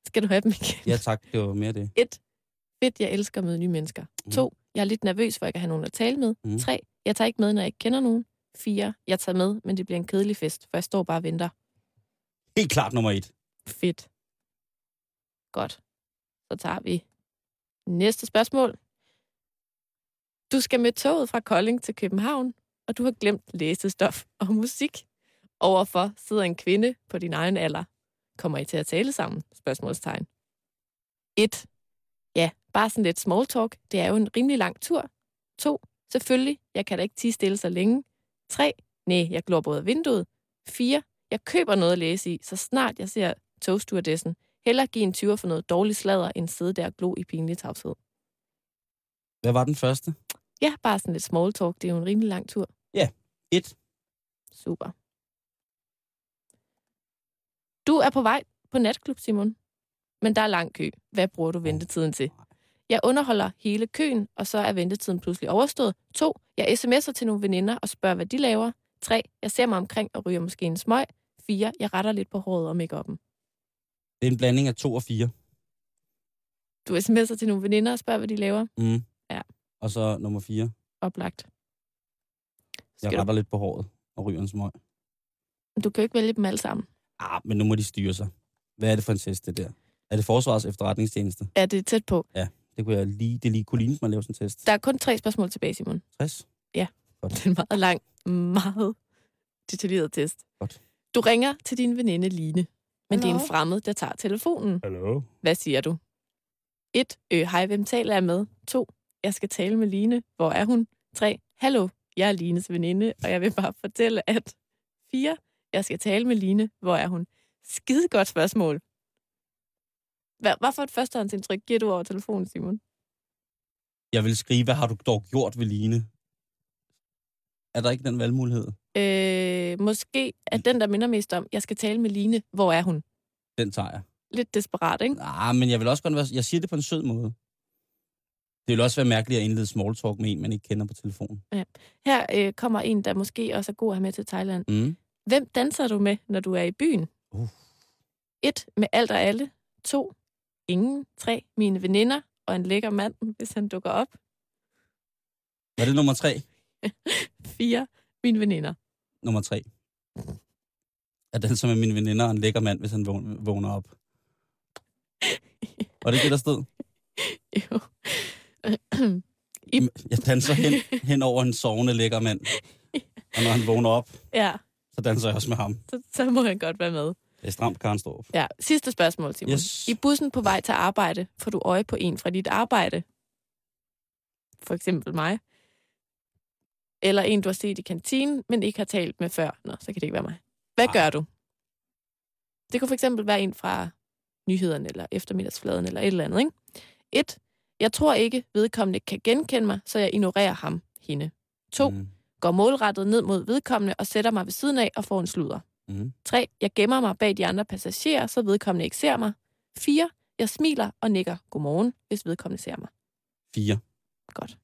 S2: Skal du have dem igen?
S3: ja tak, det var mere det.
S2: 1. Fedt, jeg elsker at møde nye mennesker. 2. Jeg er lidt nervøs for ikke at have nogen at tale med.
S3: Mm.
S2: 3. Jeg tager ikke med, når jeg ikke kender nogen. 4. Jeg tager med, men det bliver en kedelig fest, for jeg står bare og venter.
S3: Helt klart nummer 1.
S2: Fedt. Godt. Så tager vi næste spørgsmål. Du skal med toget fra Kolding til København, og du har glemt læsestof og musik. Overfor sidder en kvinde på din egen alder. Kommer I til at tale sammen? Spørgsmålstegn. 1. Ja, bare sådan lidt small talk. Det er jo en rimelig lang tur. 2. Selvfølgelig, jeg kan da ikke tige stille så længe. 3. Nej, jeg glor både vinduet. 4. Jeg køber noget at læse i, så snart jeg ser togstuerdessen. Heller give en 20 for noget dårlig sladder, end sidde der og glo i pinlig tavshed.
S3: Hvad var den første?
S2: Ja, bare sådan lidt small talk. Det er jo en rimelig lang tur.
S3: 1.
S2: Super. Du er på vej på natklub, Simon. Men der er lang kø. Hvad bruger du ventetiden til? Jeg underholder hele køen, og så er ventetiden pludselig overstået. 2. Jeg sms'er til nogle veninder og spørger, hvad de laver. 3. Jeg ser mig omkring og ryger måske en smøg. 4. Jeg retter lidt på håret og make
S3: Det er en blanding af 2 og 4.
S2: Du sms'er til nogle veninder og spørger, hvad de laver.
S3: Mm.
S2: Ja.
S3: Og så nummer 4.
S2: Oplagt.
S3: Jeg
S2: Skal du,
S3: retter lidt på håret og ryger en smøg.
S2: du kan jo ikke vælge dem alle sammen.
S3: Ah, men nu må de styre sig. Hvad er det for en test, det der? Er det Forsvarets efterretningstjeneste?
S2: Ja, det er tæt på.
S3: Det kunne jeg lige, det lige kunne ligne mig at lave sådan en test.
S2: Der er kun tre spørgsmål tilbage, Simon.
S3: 60.
S2: Det er en meget lang, meget detaljeret test.
S3: Godt.
S2: Du ringer til din veninde Line, men det er en
S5: Hallo.
S2: fremmed, der tager telefonen.
S4: Hallo?
S2: Hvad siger du? 1. Øh, hej, hvem taler jeg med? 2. Jeg skal tale med Line. Hvor er hun? 3. Hallo, jeg er Lines veninde, og jeg vil bare fortælle, at... 4. Jeg skal tale med Line. Hvor er hun? Skide godt spørgsmål. Hvad, hvad for et førstehåndsindtryk giver du over telefonen, Simon?
S3: Jeg vil skrive, hvad har du dog gjort ved Line? Er der ikke den valgmulighed?
S2: Øh, måske er den, der minder mest om, jeg skal tale med Line. Hvor er hun?
S3: Den tager jeg.
S2: Lidt desperat, ikke?
S3: Ah, men jeg vil også godt være... Jeg siger det på en sød måde. Det vil også være mærkeligt at indlede small talk med en, man ikke kender på telefonen.
S2: Her øh, kommer en, der måske også er god at have med til Thailand.
S3: Mm.
S2: Hvem danser du med, når du er i byen?
S3: Uh.
S2: 1. Med alt og alle. 2. Ingen. 3. Mine veninder. Og en lækker mand, hvis han dukker op.
S3: Var det nummer tre?
S2: 4. Mine veninder.
S3: Nummer tre.
S2: Mhm.
S3: Er den som er min veninder og en lækker mand, hvis han vågn- vågner op. Og det ikke det, der stod?
S2: Jo.
S3: Jeg danser hen, hen over en sovende lækker mand. Og når han vågner op,
S2: ja,
S3: så danser jeg også med ham.
S2: så, så må han godt være med.
S3: Det er stramt, Karen Storff.
S2: Ja, sidste spørgsmål, Simon.
S3: Yes.
S2: I bussen på vej til arbejde får du øje på en fra dit arbejde. For eksempel mig. Eller en, du har set i kantinen, men ikke har talt med før. Nå, så kan det ikke være mig. Hvad
S3: Ah.
S2: gør du? Det kunne for eksempel være en fra nyhederne, eller eftermiddagsfladen, eller et eller andet, ikke? 1. Jeg tror ikke, vedkommende kan genkende mig, så jeg ignorerer ham, hende. 2. Mm.
S3: Mm.
S2: Går målrettet ned mod vedkommende og sætter mig ved siden af og får en sludder.
S3: Mm.
S2: 3. Jeg gemmer mig bag de andre passagerer, så vedkommende ikke ser mig. 4. Jeg smiler og nikker godmorgen, hvis vedkommende ser mig.
S3: Fire.
S2: Godt.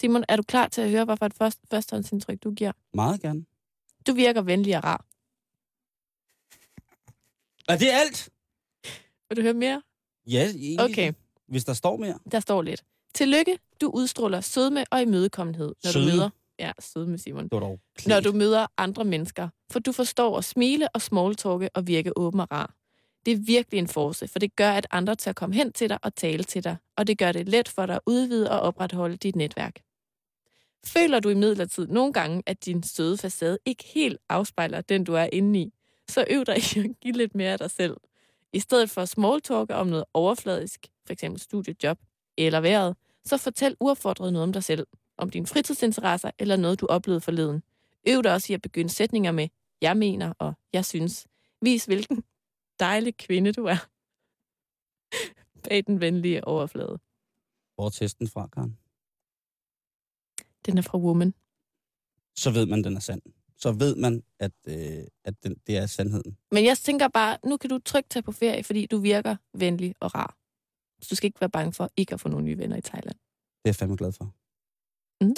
S2: Simon, er du klar til at høre, hvad for et først, førstehåndsindtryk du giver?
S3: Meget gerne.
S2: Du virker venlig og rar.
S3: Er det alt?
S2: Vil du høre mere?
S3: Ja, egentlig.
S2: Okay.
S3: Hvis der står mere.
S2: Der står lidt. Tillykke, du udstråler sødme og imødekommenhed, når
S3: Sødme?
S2: du møder... Ja, sødme, Simon.
S3: Det var dog klædt.
S2: Når du møder andre mennesker, for du forstår at smile og smalltalke og virke åben og rar. Det er virkelig en force, for det gør, at andre tør komme hen til dig og tale til dig, og det gør det let for dig at udvide og opretholde dit netværk. Føler du imidlertid nogle gange, at din søde facade ikke helt afspejler den, du er inde i, så øv dig i at give lidt mere af dig selv. I stedet for at smalltalke om noget overfladisk, f.eks. studiejob eller vejret, så fortæl uaffordret noget om dig selv, om dine fritidsinteresser eller noget, du oplevede forleden. Øv dig også i at begynde sætninger med, jeg mener og jeg synes. Vis hvilken dejlig kvinde du er. bag den venlige overflade.
S3: Hvor er testen fra, Karen?
S2: Den er fra Woman.
S3: Så ved man, den er sand. Så ved man, at, øh, at den, det er sandheden.
S2: Men jeg tænker bare, nu kan du trygt tage på ferie, fordi du virker venlig og rar. Så du skal ikke være bange for ikke at få nogle nye venner i Thailand.
S3: Det er jeg fandme glad for.
S2: Mm.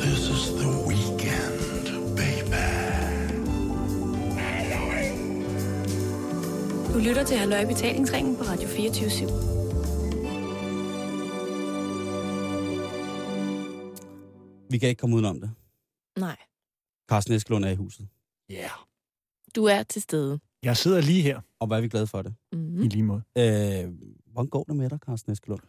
S2: This is the weekend, baby. Du lytter til Halløj Betalingsringen på Radio 24 /7.
S3: Vi kan ikke komme udenom det.
S2: Nej.
S3: Carsten Eskelund er i huset.
S4: Ja. Yeah.
S2: Du er til stede. Mhm.
S4: Jeg sidder lige her.
S3: Og hvor er vi glade for det.
S2: Mm.
S4: Mm-hmm. I lige måde.
S3: Øh, hvordan går det med dig, Carsten Eskelund?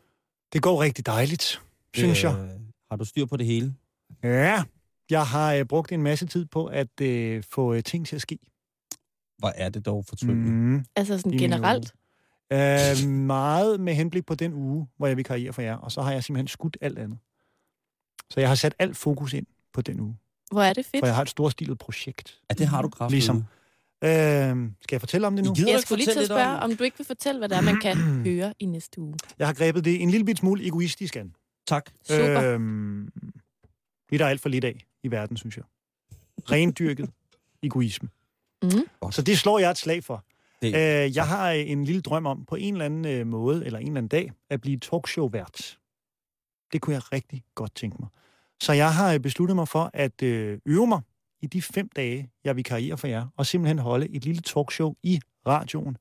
S4: Det går rigtig dejligt, synes øh, jeg.
S3: Har du styr på det hele?
S4: Ja, jeg har øh, brugt en masse tid på at øh, få øh, ting til at ske.
S3: Hvor er det dog fortrylleligt. Mm.
S2: Altså sådan I generelt?
S4: Øh, meget med henblik på den uge, hvor jeg vikarierer for jer, og så har jeg simpelthen skudt alt andet. Så jeg har sat alt fokus ind på den uge.
S2: Hvor er det fedt.
S4: For jeg har et storstilet projekt.
S3: Ja, det har du kraftigt.
S4: Ligesom. Øh, skal jeg fortælle om det nu?
S2: Jeg skulle lige til at spørge, om... om du ikke vil fortælle, hvad det er, man kan høre i næste uge.
S4: Jeg har grebet det en lille bit smule egoistisk an.
S3: Tak.
S2: Super.
S4: Øhm, det er der alt for lidt af i verden, synes jeg. Rendyrket egoisme. Mm. Så det slår jeg et slag for. Det. Øh, jeg har en lille drøm om på en eller anden øh, måde, eller en eller anden dag, at blive talkshow-vært. Det kunne jeg rigtig godt tænke mig. Så jeg har øh, besluttet mig for at øh, øve mig i de fem dage, jeg vikarierer for jer, og simpelthen holde et lille talkshow i radioen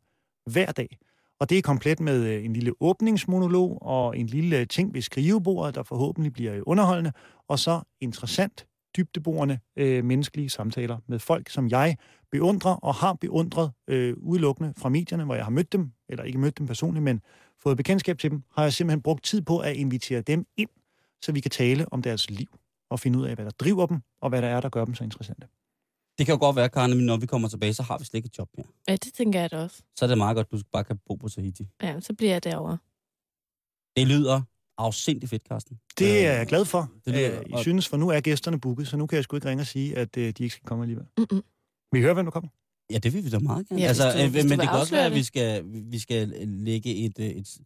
S4: hver dag. Og det er komplet med øh, en lille åbningsmonolog og en lille øh, ting ved skrivebordet, der forhåbentlig bliver øh, underholdende, og så interessant, dybdeborende øh, menneskelige samtaler med folk, som jeg beundrer og har beundret øh, udelukkende fra medierne, hvor jeg har mødt dem, eller ikke mødt dem personligt, men fået bekendtskab til dem, har jeg simpelthen brugt tid på at invitere dem ind, så vi kan tale om deres liv og finde ud af, hvad der driver dem, og hvad der er, der gør dem så interessante.
S3: Det kan jo godt være, Karen, men når vi kommer tilbage, så har vi slet ikke et job mere.
S2: Ja, det tænker jeg da også.
S3: Så er det meget godt, at du bare kan bo på Tahiti.
S2: Ja, så bliver jeg derovre.
S3: Det lyder afsindig fedt, Carsten.
S4: Det er jeg glad for. Øh, Det lyder, jeg synes, for nu er gæsterne booket, så nu kan jeg sgu ikke ringe og sige, at øh, de ikke skal komme alligevel. Mm-mm. Vi hører, hvem der kommer.
S3: Ja, det vil vi da meget gerne. Ja, altså, du, men det kan også være, at vi skal, vi skal lægge et, øh, et,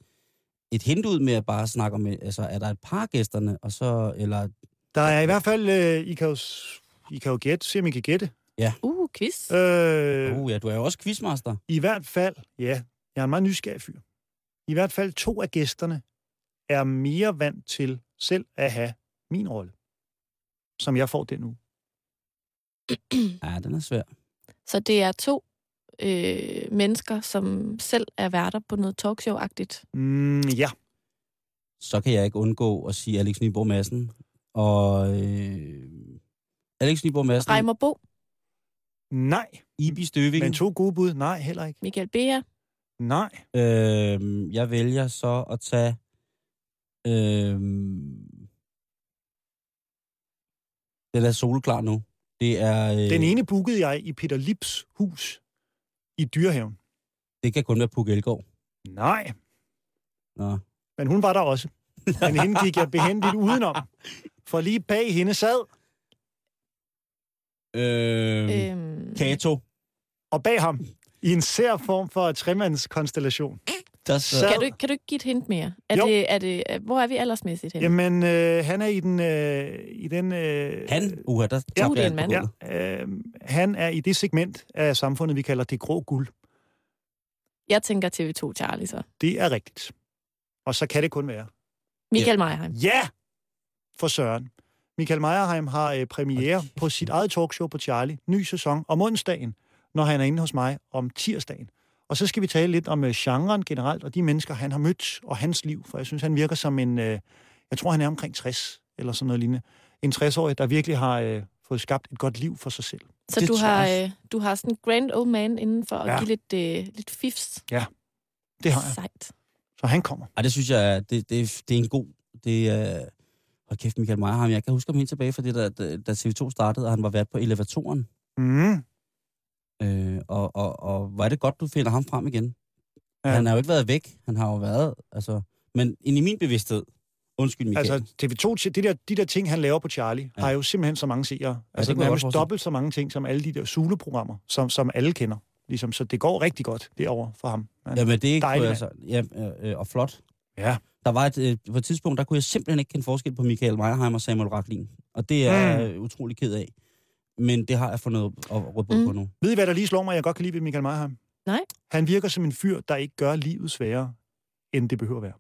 S3: et hint ud med at bare snakke om, altså, er der et par gæsterne, og så, eller...
S4: Der er i hvert fald, øh, I kan jo, I kan jo gætte, se om I kan gætte.
S3: Ja.
S2: Uh, quiz.
S4: Øh,
S3: uh, ja, du er jo også quizmaster.
S4: I hvert fald, ja, jeg er en meget nysgerrig fyr. I hvert fald to af gæsterne er mere vant til selv at have min rolle, som jeg får den nu.
S3: ja, den er svær.
S2: Så det er to øh, mennesker, som selv er værter på noget talkshow-agtigt.
S4: Mm, ja.
S3: Så kan jeg ikke undgå at sige Alex Nyborg Madsen. Og øh, Alex Nyborg Madsen...
S4: Mm.
S2: Reimer Bo.
S4: Nej.
S3: Ibi Støving.
S4: Men to gode bud. Nej, heller ikke.
S2: Michael Bea.
S4: Nej.
S3: Øh, jeg vælger så at tage... Øh, den er solklar nu. Det er... Øh...
S4: Den ene bookede jeg i Peter Lips hus i Dyrehaven.
S3: Det kan kun være Puk Elgård.
S4: Nej.
S3: Nå.
S4: Men hun var der også. Men hende gik jeg behendigt udenom. For lige bag hende sad...
S3: Øhm,
S4: Mm.
S2: Øh,
S3: øhm... Kato.
S4: Og bag ham, i en sær form for tremandskonstellation.
S2: Der sad... kan, du, kan du ikke give et hint mere? Er jo. det, er det, hvor er vi aldersmæssigt henne?
S4: Jamen, øh, han er i den... Øh, i den øh,
S3: han? Uha, der
S2: ja, uh, det er en mand.
S4: Ja, øh, han er i det segment af samfundet, vi kalder det grå guld.
S2: Jeg tænker TV2 Charlie så.
S4: Det er rigtigt. Og så kan det kun være.
S2: Michael ja. Meierheim.
S4: Ja! For Søren. Michael Meierheim har øh, premiere okay. på sit eget talkshow på Charlie. Ny sæson om onsdagen, når han er inde hos mig om tirsdagen. Og så skal vi tale lidt om øh, genren generelt, og de mennesker, han har mødt, og hans liv. For jeg synes, han virker som en... Øh, jeg tror, han er omkring 60, eller sådan noget lignende. En 60-årig, der virkelig har øh, fået skabt et godt liv for sig selv.
S2: Så det du har, øh, du har sådan en grand old man inden for ja. at give lidt, øh, lidt fifs?
S4: Ja, det har jeg.
S2: Sejt.
S4: Så han kommer.
S3: Ej, det synes jeg, det, det, det er en god... Det, øh, hold kæft, Michael Meierheim. Jeg kan huske ham helt tilbage fra det, da, da TV2 startede, og han var vært på elevatoren.
S4: Mm.
S3: Øh, og, og, og hvor er det godt, du finder ham frem igen. Ja. Han har jo ikke været væk. Han har jo været... Altså, men ind i min bevidsthed, Undskyld, Michael.
S4: Altså, TV2, de der, de der ting, han laver på Charlie, ja. har jo simpelthen så mange seere. Ja, altså,
S3: det kunne jeg
S4: nærmest
S3: godt forestille.
S4: dobbelt så mange ting, som alle de der Zulu-programmer, som, som alle kender. Ligesom, så det går rigtig godt derovre for ham. Han er
S3: Jamen, det er ikke,
S4: dejlig mand.
S3: altså, ja, øh, øh, og flot.
S4: Ja.
S3: Der var et, øh, på et tidspunkt, der kunne jeg simpelthen ikke kende forskel på Michael Meyerheim og Samuel Ratlin. Og det er
S4: Mm.
S3: jeg øh, utrolig ked af. Men det har jeg fundet at råde
S2: Mm.
S3: mm. på nu.
S4: Ved I, hvad der lige slår mig, jeg godt kan lide ved Michael Meyerheim?
S2: Nej.
S4: Han virker som en fyr, der ikke gør livet sværere, end det behøver at være.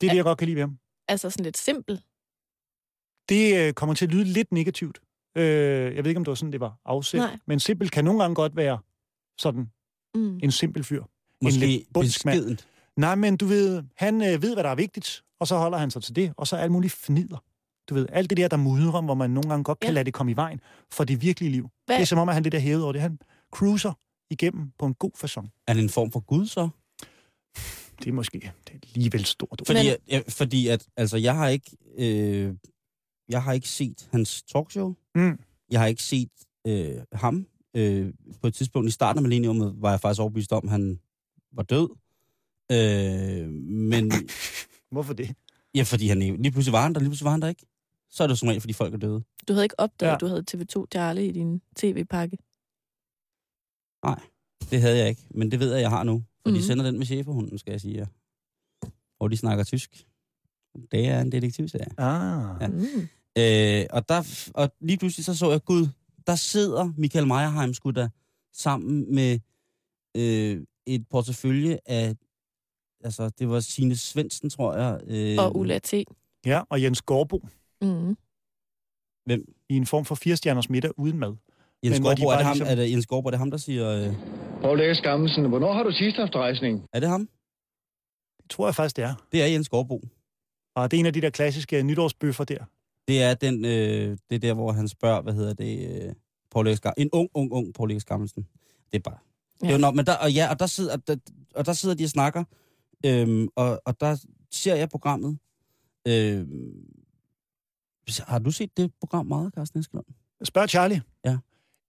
S4: Det er det, jeg godt kan lide ved ham.
S2: Altså sådan lidt simpel.
S4: det øh, kommer til at lyde lidt negativt. Øh, jeg ved ikke, om det var sådan, det var afsæt.
S2: Nej.
S4: Men simpel kan nogle gange godt være sådan
S2: Mm.
S4: en simpel fyr.
S3: Måske
S4: lidt bundsk mand.
S3: beskedent.
S4: Nej, men du ved, han øh, ved, hvad der er vigtigt, og så holder han sig til det, og så alt muligt fnider. Du ved, alt det der, der mudrer, hvor man nogle gange godt kan
S2: Ja.
S4: ja. lade det komme i vejen for det virkelige liv.
S2: Hvad?
S4: Det er som om, at han lidt er hævet over det. Han cruiser igennem på en god façon.
S3: Er det en form for Gud, så?
S4: Det er måske det er alligevel stort. ord.
S3: Fordi,
S2: Men-
S3: Men... jeg, fordi at, altså, jeg har ikke, øh, jeg har ikke set hans talkshow.
S4: Mm.
S3: Jeg har ikke set øh, ham. Øh, på et tidspunkt i starten af millenniumet var jeg faktisk overbevist om, at han var død. Øh, men
S4: Hvorfor det?
S3: ja, fordi han lige pludselig var han der, lige pludselig var han der ikke. Så er det jo som regel, fordi folk er døde.
S2: Du havde ikke opdaget,
S4: Ja.
S2: at du havde TV2 Charlie i din tv-pakke.
S3: Det havde jeg ikke, men det ved jeg, jeg har nu. For mm.
S2: Mhm.
S3: de sender den med cheferhunden, skal jeg sige jer. Og de snakker tysk. Det er en detektivserie.
S4: Ah.
S3: Ja.
S4: Ja.
S2: Mm.
S3: Øh, og, der, og lige pludselig så så jeg, gud, der sidder Michael Meyerheim sgu da sammen med øh, et portefølje af, altså det var Signe Svendsen, tror jeg. Øh,
S2: Og Ulla T.
S4: ja, og Jens Gårdbo
S2: Mm.
S4: i en form for firestjerners middag uden mad.
S3: Jens
S4: Men hvor de
S3: Gårdbo, er,
S4: bare
S3: det ham,
S4: ligesom-
S3: er det Jens Gårdbo, er det ham, der siger, øh,
S6: Poul Erik Skammelsen, hvornår har du sidst haft rejsning?
S3: er det ham?
S4: Det tror jeg faktisk, det er.
S3: Det er Jens Gårdbo.
S4: Og det er en af de der klassiske nytårsbøffer der.
S3: Det er den, øh, det er der, hvor han spørger, hvad hedder det, øh, Paul Erik Skar- en ung, ung, ung Paul Erik Skammelsen. Det er bare...
S2: Ja.
S3: Ja. Det er, jo nok- men der, og, ja, og, der sidder, og, der, og der sidder de og snakker, øhm, og, og der ser jeg programmet. Øhm, har du set det program meget, Carsten Eskelund?
S4: Spørg Charlie.
S3: Ja.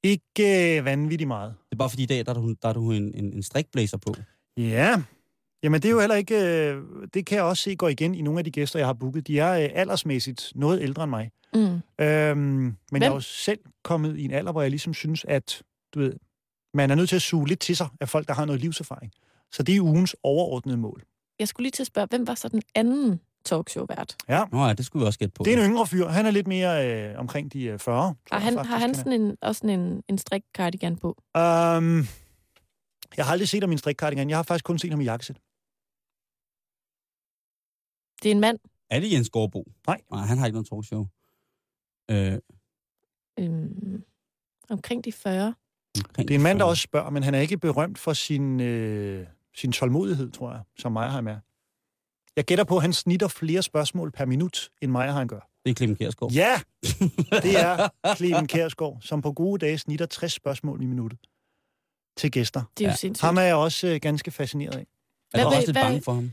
S4: Ikke øh, vanvittigt meget.
S3: Det er bare fordi i dag, der er du, der er du en, en, en strikblæser på.
S4: Ja. Jamen, det er jo heller ikke... Øh, det kan jeg også se går igen i nogle af de gæster, jeg har booket. De er øh, aldersmæssigt noget ældre end mig.
S2: Mm.
S4: Øhm, men Hvem? jeg er
S2: Hvem?
S4: jo selv kommet i en alder, hvor jeg ligesom synes, at du ved, man er nødt til at suge lidt til sig af folk, der har noget livserfaring. Så det er ugens overordnede mål.
S2: Jeg skulle lige til at spørge, hvem var så den anden talkshow-vært?
S3: Nå ja, det skulle vi også gætte på.
S4: Det er en yngre fyr. Han er lidt mere øh, omkring de øh, 40. tror
S2: Har
S4: jeg
S2: han,
S4: faktisk,
S2: har han
S4: er.
S2: sådan en, også sådan en, en strik cardigan på?
S4: Øhm, jeg har aldrig set ham i en strikkardigan. Jeg har faktisk kun set ham i jakkesæt.
S2: Det er en mand.
S3: Er det Jens Gårdbo?
S4: Nej.
S3: Nej, han har ikke noget talkshow. Øh,
S2: Øhm, omkring de 40.
S4: Det er en mand, der også spørger, men han er ikke berømt for sin, øh, sin tålmodighed, tror jeg, som Meyerheim er. Jeg gætter på, at han snitter flere spørgsmål per minut, end Meyerheim gør.
S3: Det er Clemen Kjærsgaard.
S4: Ja, det er Clemen Kærsgaard, som på gode dage snitter 60 spørgsmål i minuttet til gæster.
S2: Det er ja.
S3: Ja.
S2: jo sindssygt.
S4: Ham er jeg også øh, ganske fascineret af.
S3: Jeg
S2: Hvad-
S3: er også lidt
S2: hvad-
S3: bange for ham.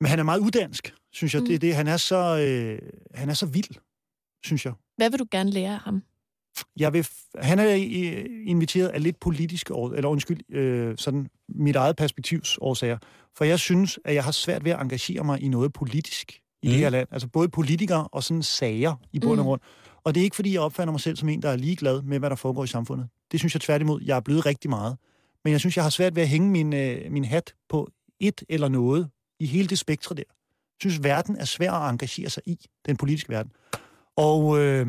S4: Men han er meget uddansk, synes jeg.
S2: Mm.
S4: Mm. Det, er det, han, er så, øh, han er så vild, synes jeg.
S2: Hvad vil du gerne lære af ham?
S4: jeg vil f- han er øh, inviteret af lidt politiske, år- eller undskyld, øh, sådan mit eget perspektivs årsager. For jeg synes, at jeg har svært ved at engagere mig i noget politisk i mm.
S3: Mm.
S4: det her land. Altså både politikere og sådan sager i bund
S2: Mm.
S4: og grund. Og det er ikke, fordi jeg opfatter mig selv som en, der er ligeglad med, hvad der foregår i samfundet. Det synes jeg tværtimod, jeg er blevet rigtig meget. Men jeg synes, jeg har svært ved at hænge min, øh, min hat på et eller noget i hele det spektrum der. Jeg synes, verden er svær at engagere sig i, den politiske verden. Og øh,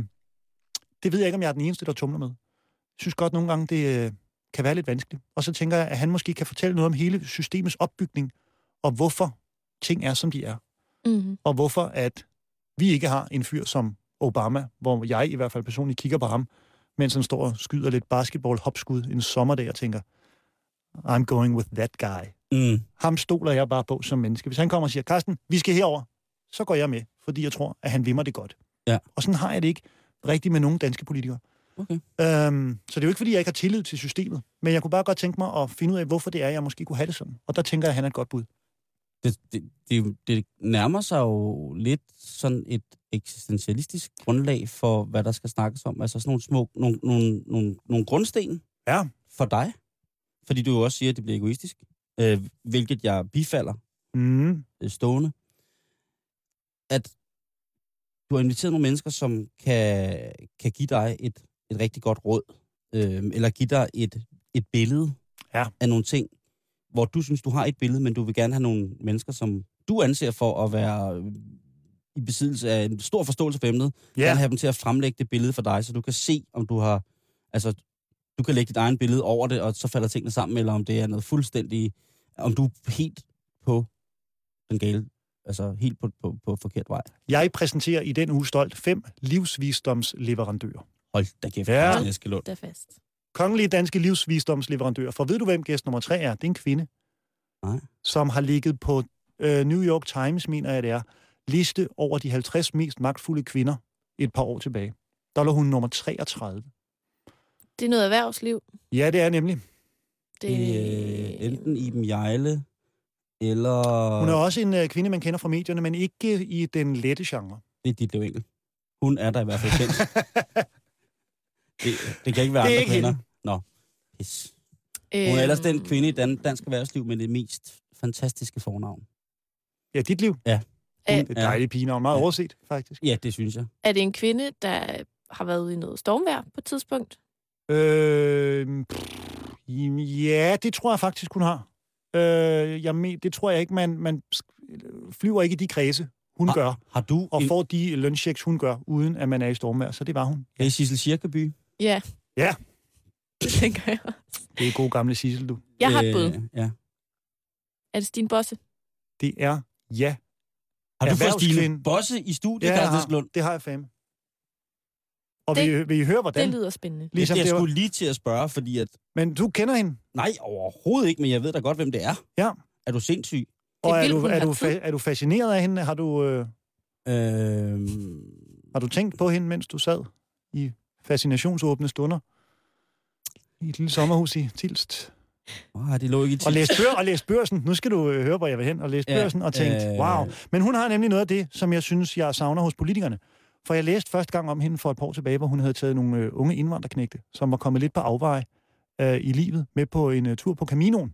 S4: det ved jeg ikke, om jeg er den eneste, der tumler med. Jeg synes godt nogle gange, det øh, kan være lidt vanskeligt. Og så tænker jeg, at han måske kan fortælle noget om hele systemets opbygning, og hvorfor ting er, som de er.
S2: Mm.
S4: Og hvorfor at vi ikke har en fyr som Obama, hvor jeg i hvert fald personligt kigger på ham, mens han står og skyder lidt basketball-hopskud en sommerdag og tænker, I'm going with that guy.
S3: Mm.
S4: Ham stoler jeg bare på som menneske. Hvis han kommer og siger, Carsten, vi skal herover, så går jeg med, fordi jeg tror, at han vil mig det godt.
S3: Ja.
S4: Og sådan har jeg det ikke rigtigt med nogen danske politikere.
S3: Okay.
S4: Øhm, så det er jo ikke, fordi jeg ikke har tillid til systemet, men jeg kunne bare godt tænke mig at finde ud af, hvorfor det er, jeg måske kunne have det sådan. Og der tænker jeg, at han er et godt bud.
S3: det, det, det, det nærmer sig jo lidt sådan et eksistentialistisk grundlag for, hvad der skal snakkes om. Altså sådan nogle små, nogle, nogle, nogle, nogle grundsten
S4: Ja.
S3: for dig. Fordi du jo også siger, at det bliver egoistisk. Øh, hvilket jeg bifalder
S4: Mm.
S3: øh, stående. at du har inviteret nogle mennesker, som kan, kan give dig et, et rigtig godt råd, øh, eller give dig et, et billede
S4: Ja.
S3: af nogle ting, hvor du synes, du har et billede, men du vil gerne have nogle mennesker, som du anser for at være øh, i besiddelse af en stor forståelse for emnet,
S4: Ja.
S3: gerne have dem til at fremlægge det billede for dig, så du kan se, om du har... Altså, du kan lægge dit egen billede over det, og så falder tingene sammen, eller om det er noget fuldstændig... Om du er helt på den gale... Altså, helt på, på, på forkert vej.
S4: Jeg præsenterer i den uge stolt fem livsvisdomsleverandører.
S3: Hold da kæft,
S4: Ja.
S3: ja. Eskelund.
S2: Det er fast.
S4: Kongelige danske livsvisdomsleverandører. For ved du, hvem gæst nummer tre er? Det er en kvinde,
S3: Nej.
S4: som har ligget på øh, New York Times, mener jeg det er, liste over de 50 mest magtfulde kvinder et par år tilbage. Der lå hun nummer 33.
S2: Det er noget erhvervsliv.
S4: Ja, det er nemlig.
S2: Det...
S3: Øh, enten Iben Jejle, eller...
S4: Hun er også en øh, kvinde, man kender fra medierne, men ikke i den lette genre.
S3: Det er dit liv, Engel. Hun er der i hvert fald kendt. det, det kan ikke være
S4: Det
S3: andre
S4: er ikke
S3: kvinder.
S4: hende.
S3: Nå, pis.
S2: øhm,
S3: Hun er ellers
S2: Øh.
S3: den kvinde i dan- dansk erhvervsliv med det mest fantastiske fornavn.
S4: Ja, dit liv.
S3: Ja.
S4: Det er
S2: Ja.
S4: et dejligt pigenavn. Meget
S3: Ja.
S4: overset, faktisk.
S3: Ja, det synes jeg.
S2: Er det en kvinde, der har været ude i noget stormvejr på et tidspunkt?
S4: Øh, pff, jamen, ja, det tror jeg faktisk, hun har. Øh, jeg men, det tror jeg ikke, man, man sk- flyver ikke i de kredse, hun
S3: Ah.
S4: ah. gør,
S3: Har du
S4: og
S3: en...
S4: får de lønchecks, hun gør, uden at man er i stormvær, så det var hun.
S3: Det er Sissel Kirkeby.
S2: Ja.
S4: Ja.
S2: Det tænker jeg.
S4: Det er god gamle Sissel, du.
S2: Jeg har et bud.
S3: Øh, Ja. Øh,
S2: Er det Stine Bosse?
S4: Det er ja.
S3: Har du fået
S4: Erhvervskvinde.
S3: Stine Bosse i studiet,
S4: Ja,
S3: ja,
S4: jeg
S3: Carsten
S4: har,
S3: Eskelund?
S4: det har jeg fandme. Og
S2: Det-
S4: det, vil, vil I høre,
S2: Det
S4: hvordan?
S2: lyder spændende.
S4: ligesom
S3: Ligesom jeg
S4: det var-
S3: skulle lige til at spørge, fordi at...
S4: Men du kender hende,
S3: Nej, overhovedet ikke, men jeg ved da godt, hvem det er.
S4: Ja.
S3: Er du sindssyg?
S2: er
S4: og er,
S2: vildt,
S4: du,
S2: hun
S4: er,
S2: har
S4: du
S2: tid.
S4: fa- er du fascineret af hende? Har du, øh,
S3: Øhm...
S4: har du tænkt på hende, mens du sad i fascinationsåbne stunder? I et lille sommerhus i Tilst.
S3: Oh, det lå ikke i
S4: Og
S3: tiden.
S4: læste, bør, og læste børsen. Nu skal du øh, høre, hvor jeg vil hen. Og læste
S3: Ja,
S4: ja, børsen og tænkte,
S3: øh.
S4: øh... wow. Men hun har nemlig noget af det, som jeg synes, jeg savner hos politikerne. For jeg læste første gang om hende for et par år tilbage, hvor hun havde taget nogle øh, unge indvandrerknægte, som var kommet lidt på afveje øh, i livet, med på en øh, tur på Caminoen,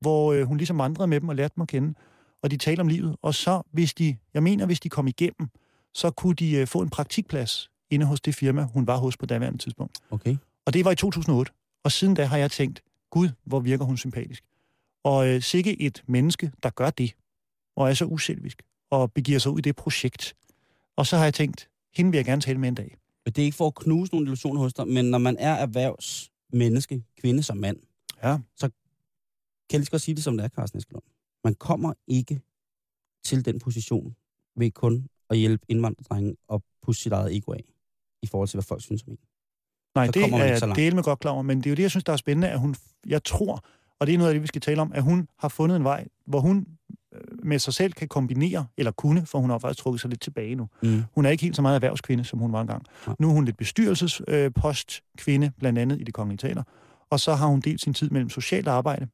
S4: hvor øh, hun ligesom vandrede med dem og lærte dem at kende. Og de talte om livet. Og så, hvis de, jeg mener, hvis de kom igennem, så kunne de øh, få en praktikplads inde hos det firma, hun var hos på daværende tidspunkt.
S3: Okay.
S4: Og det var i 2008. Og siden da har jeg tænkt, gud, hvor virker hun sympatisk. Og øh, sikke et menneske, der gør det, og er så uselvisk, og begiver sig ud i det projekt. Og så har jeg tænkt, hende vil jeg gerne tale med en dag.
S3: Men det er ikke for at knuse nogle illusioner hos dig, men når man er erhvervsmenneske, kvinde som mand,
S4: Ja.
S3: så kan jeg lige så godt sige det, som det er, Carsten Eskelund. Man kommer ikke til den position ved kun at hjælpe indvandrerdrenge og pusse sit eget ego af, i forhold til, hvad folk synes om en.
S4: Nej,
S3: Så
S4: det
S3: kommer man ikke så
S4: er
S3: langt.
S4: del med godt klar over, men det er jo det, jeg synes, der er spændende, at hun, jeg tror, og det er noget af det, vi skal tale om, at hun har fundet en vej, hvor hun øh, med sig selv kan kombinere, eller kunne, for hun har faktisk trukket sig lidt tilbage nu.
S3: Mm.
S4: Hun er ikke helt så meget erhvervskvinde, som hun var engang.
S3: Nej.
S4: Nu er hun lidt bestyrelsespostkvinde, øh, blandt andet i det kongelige teater. Og så har hun delt sin tid mellem socialt arbejde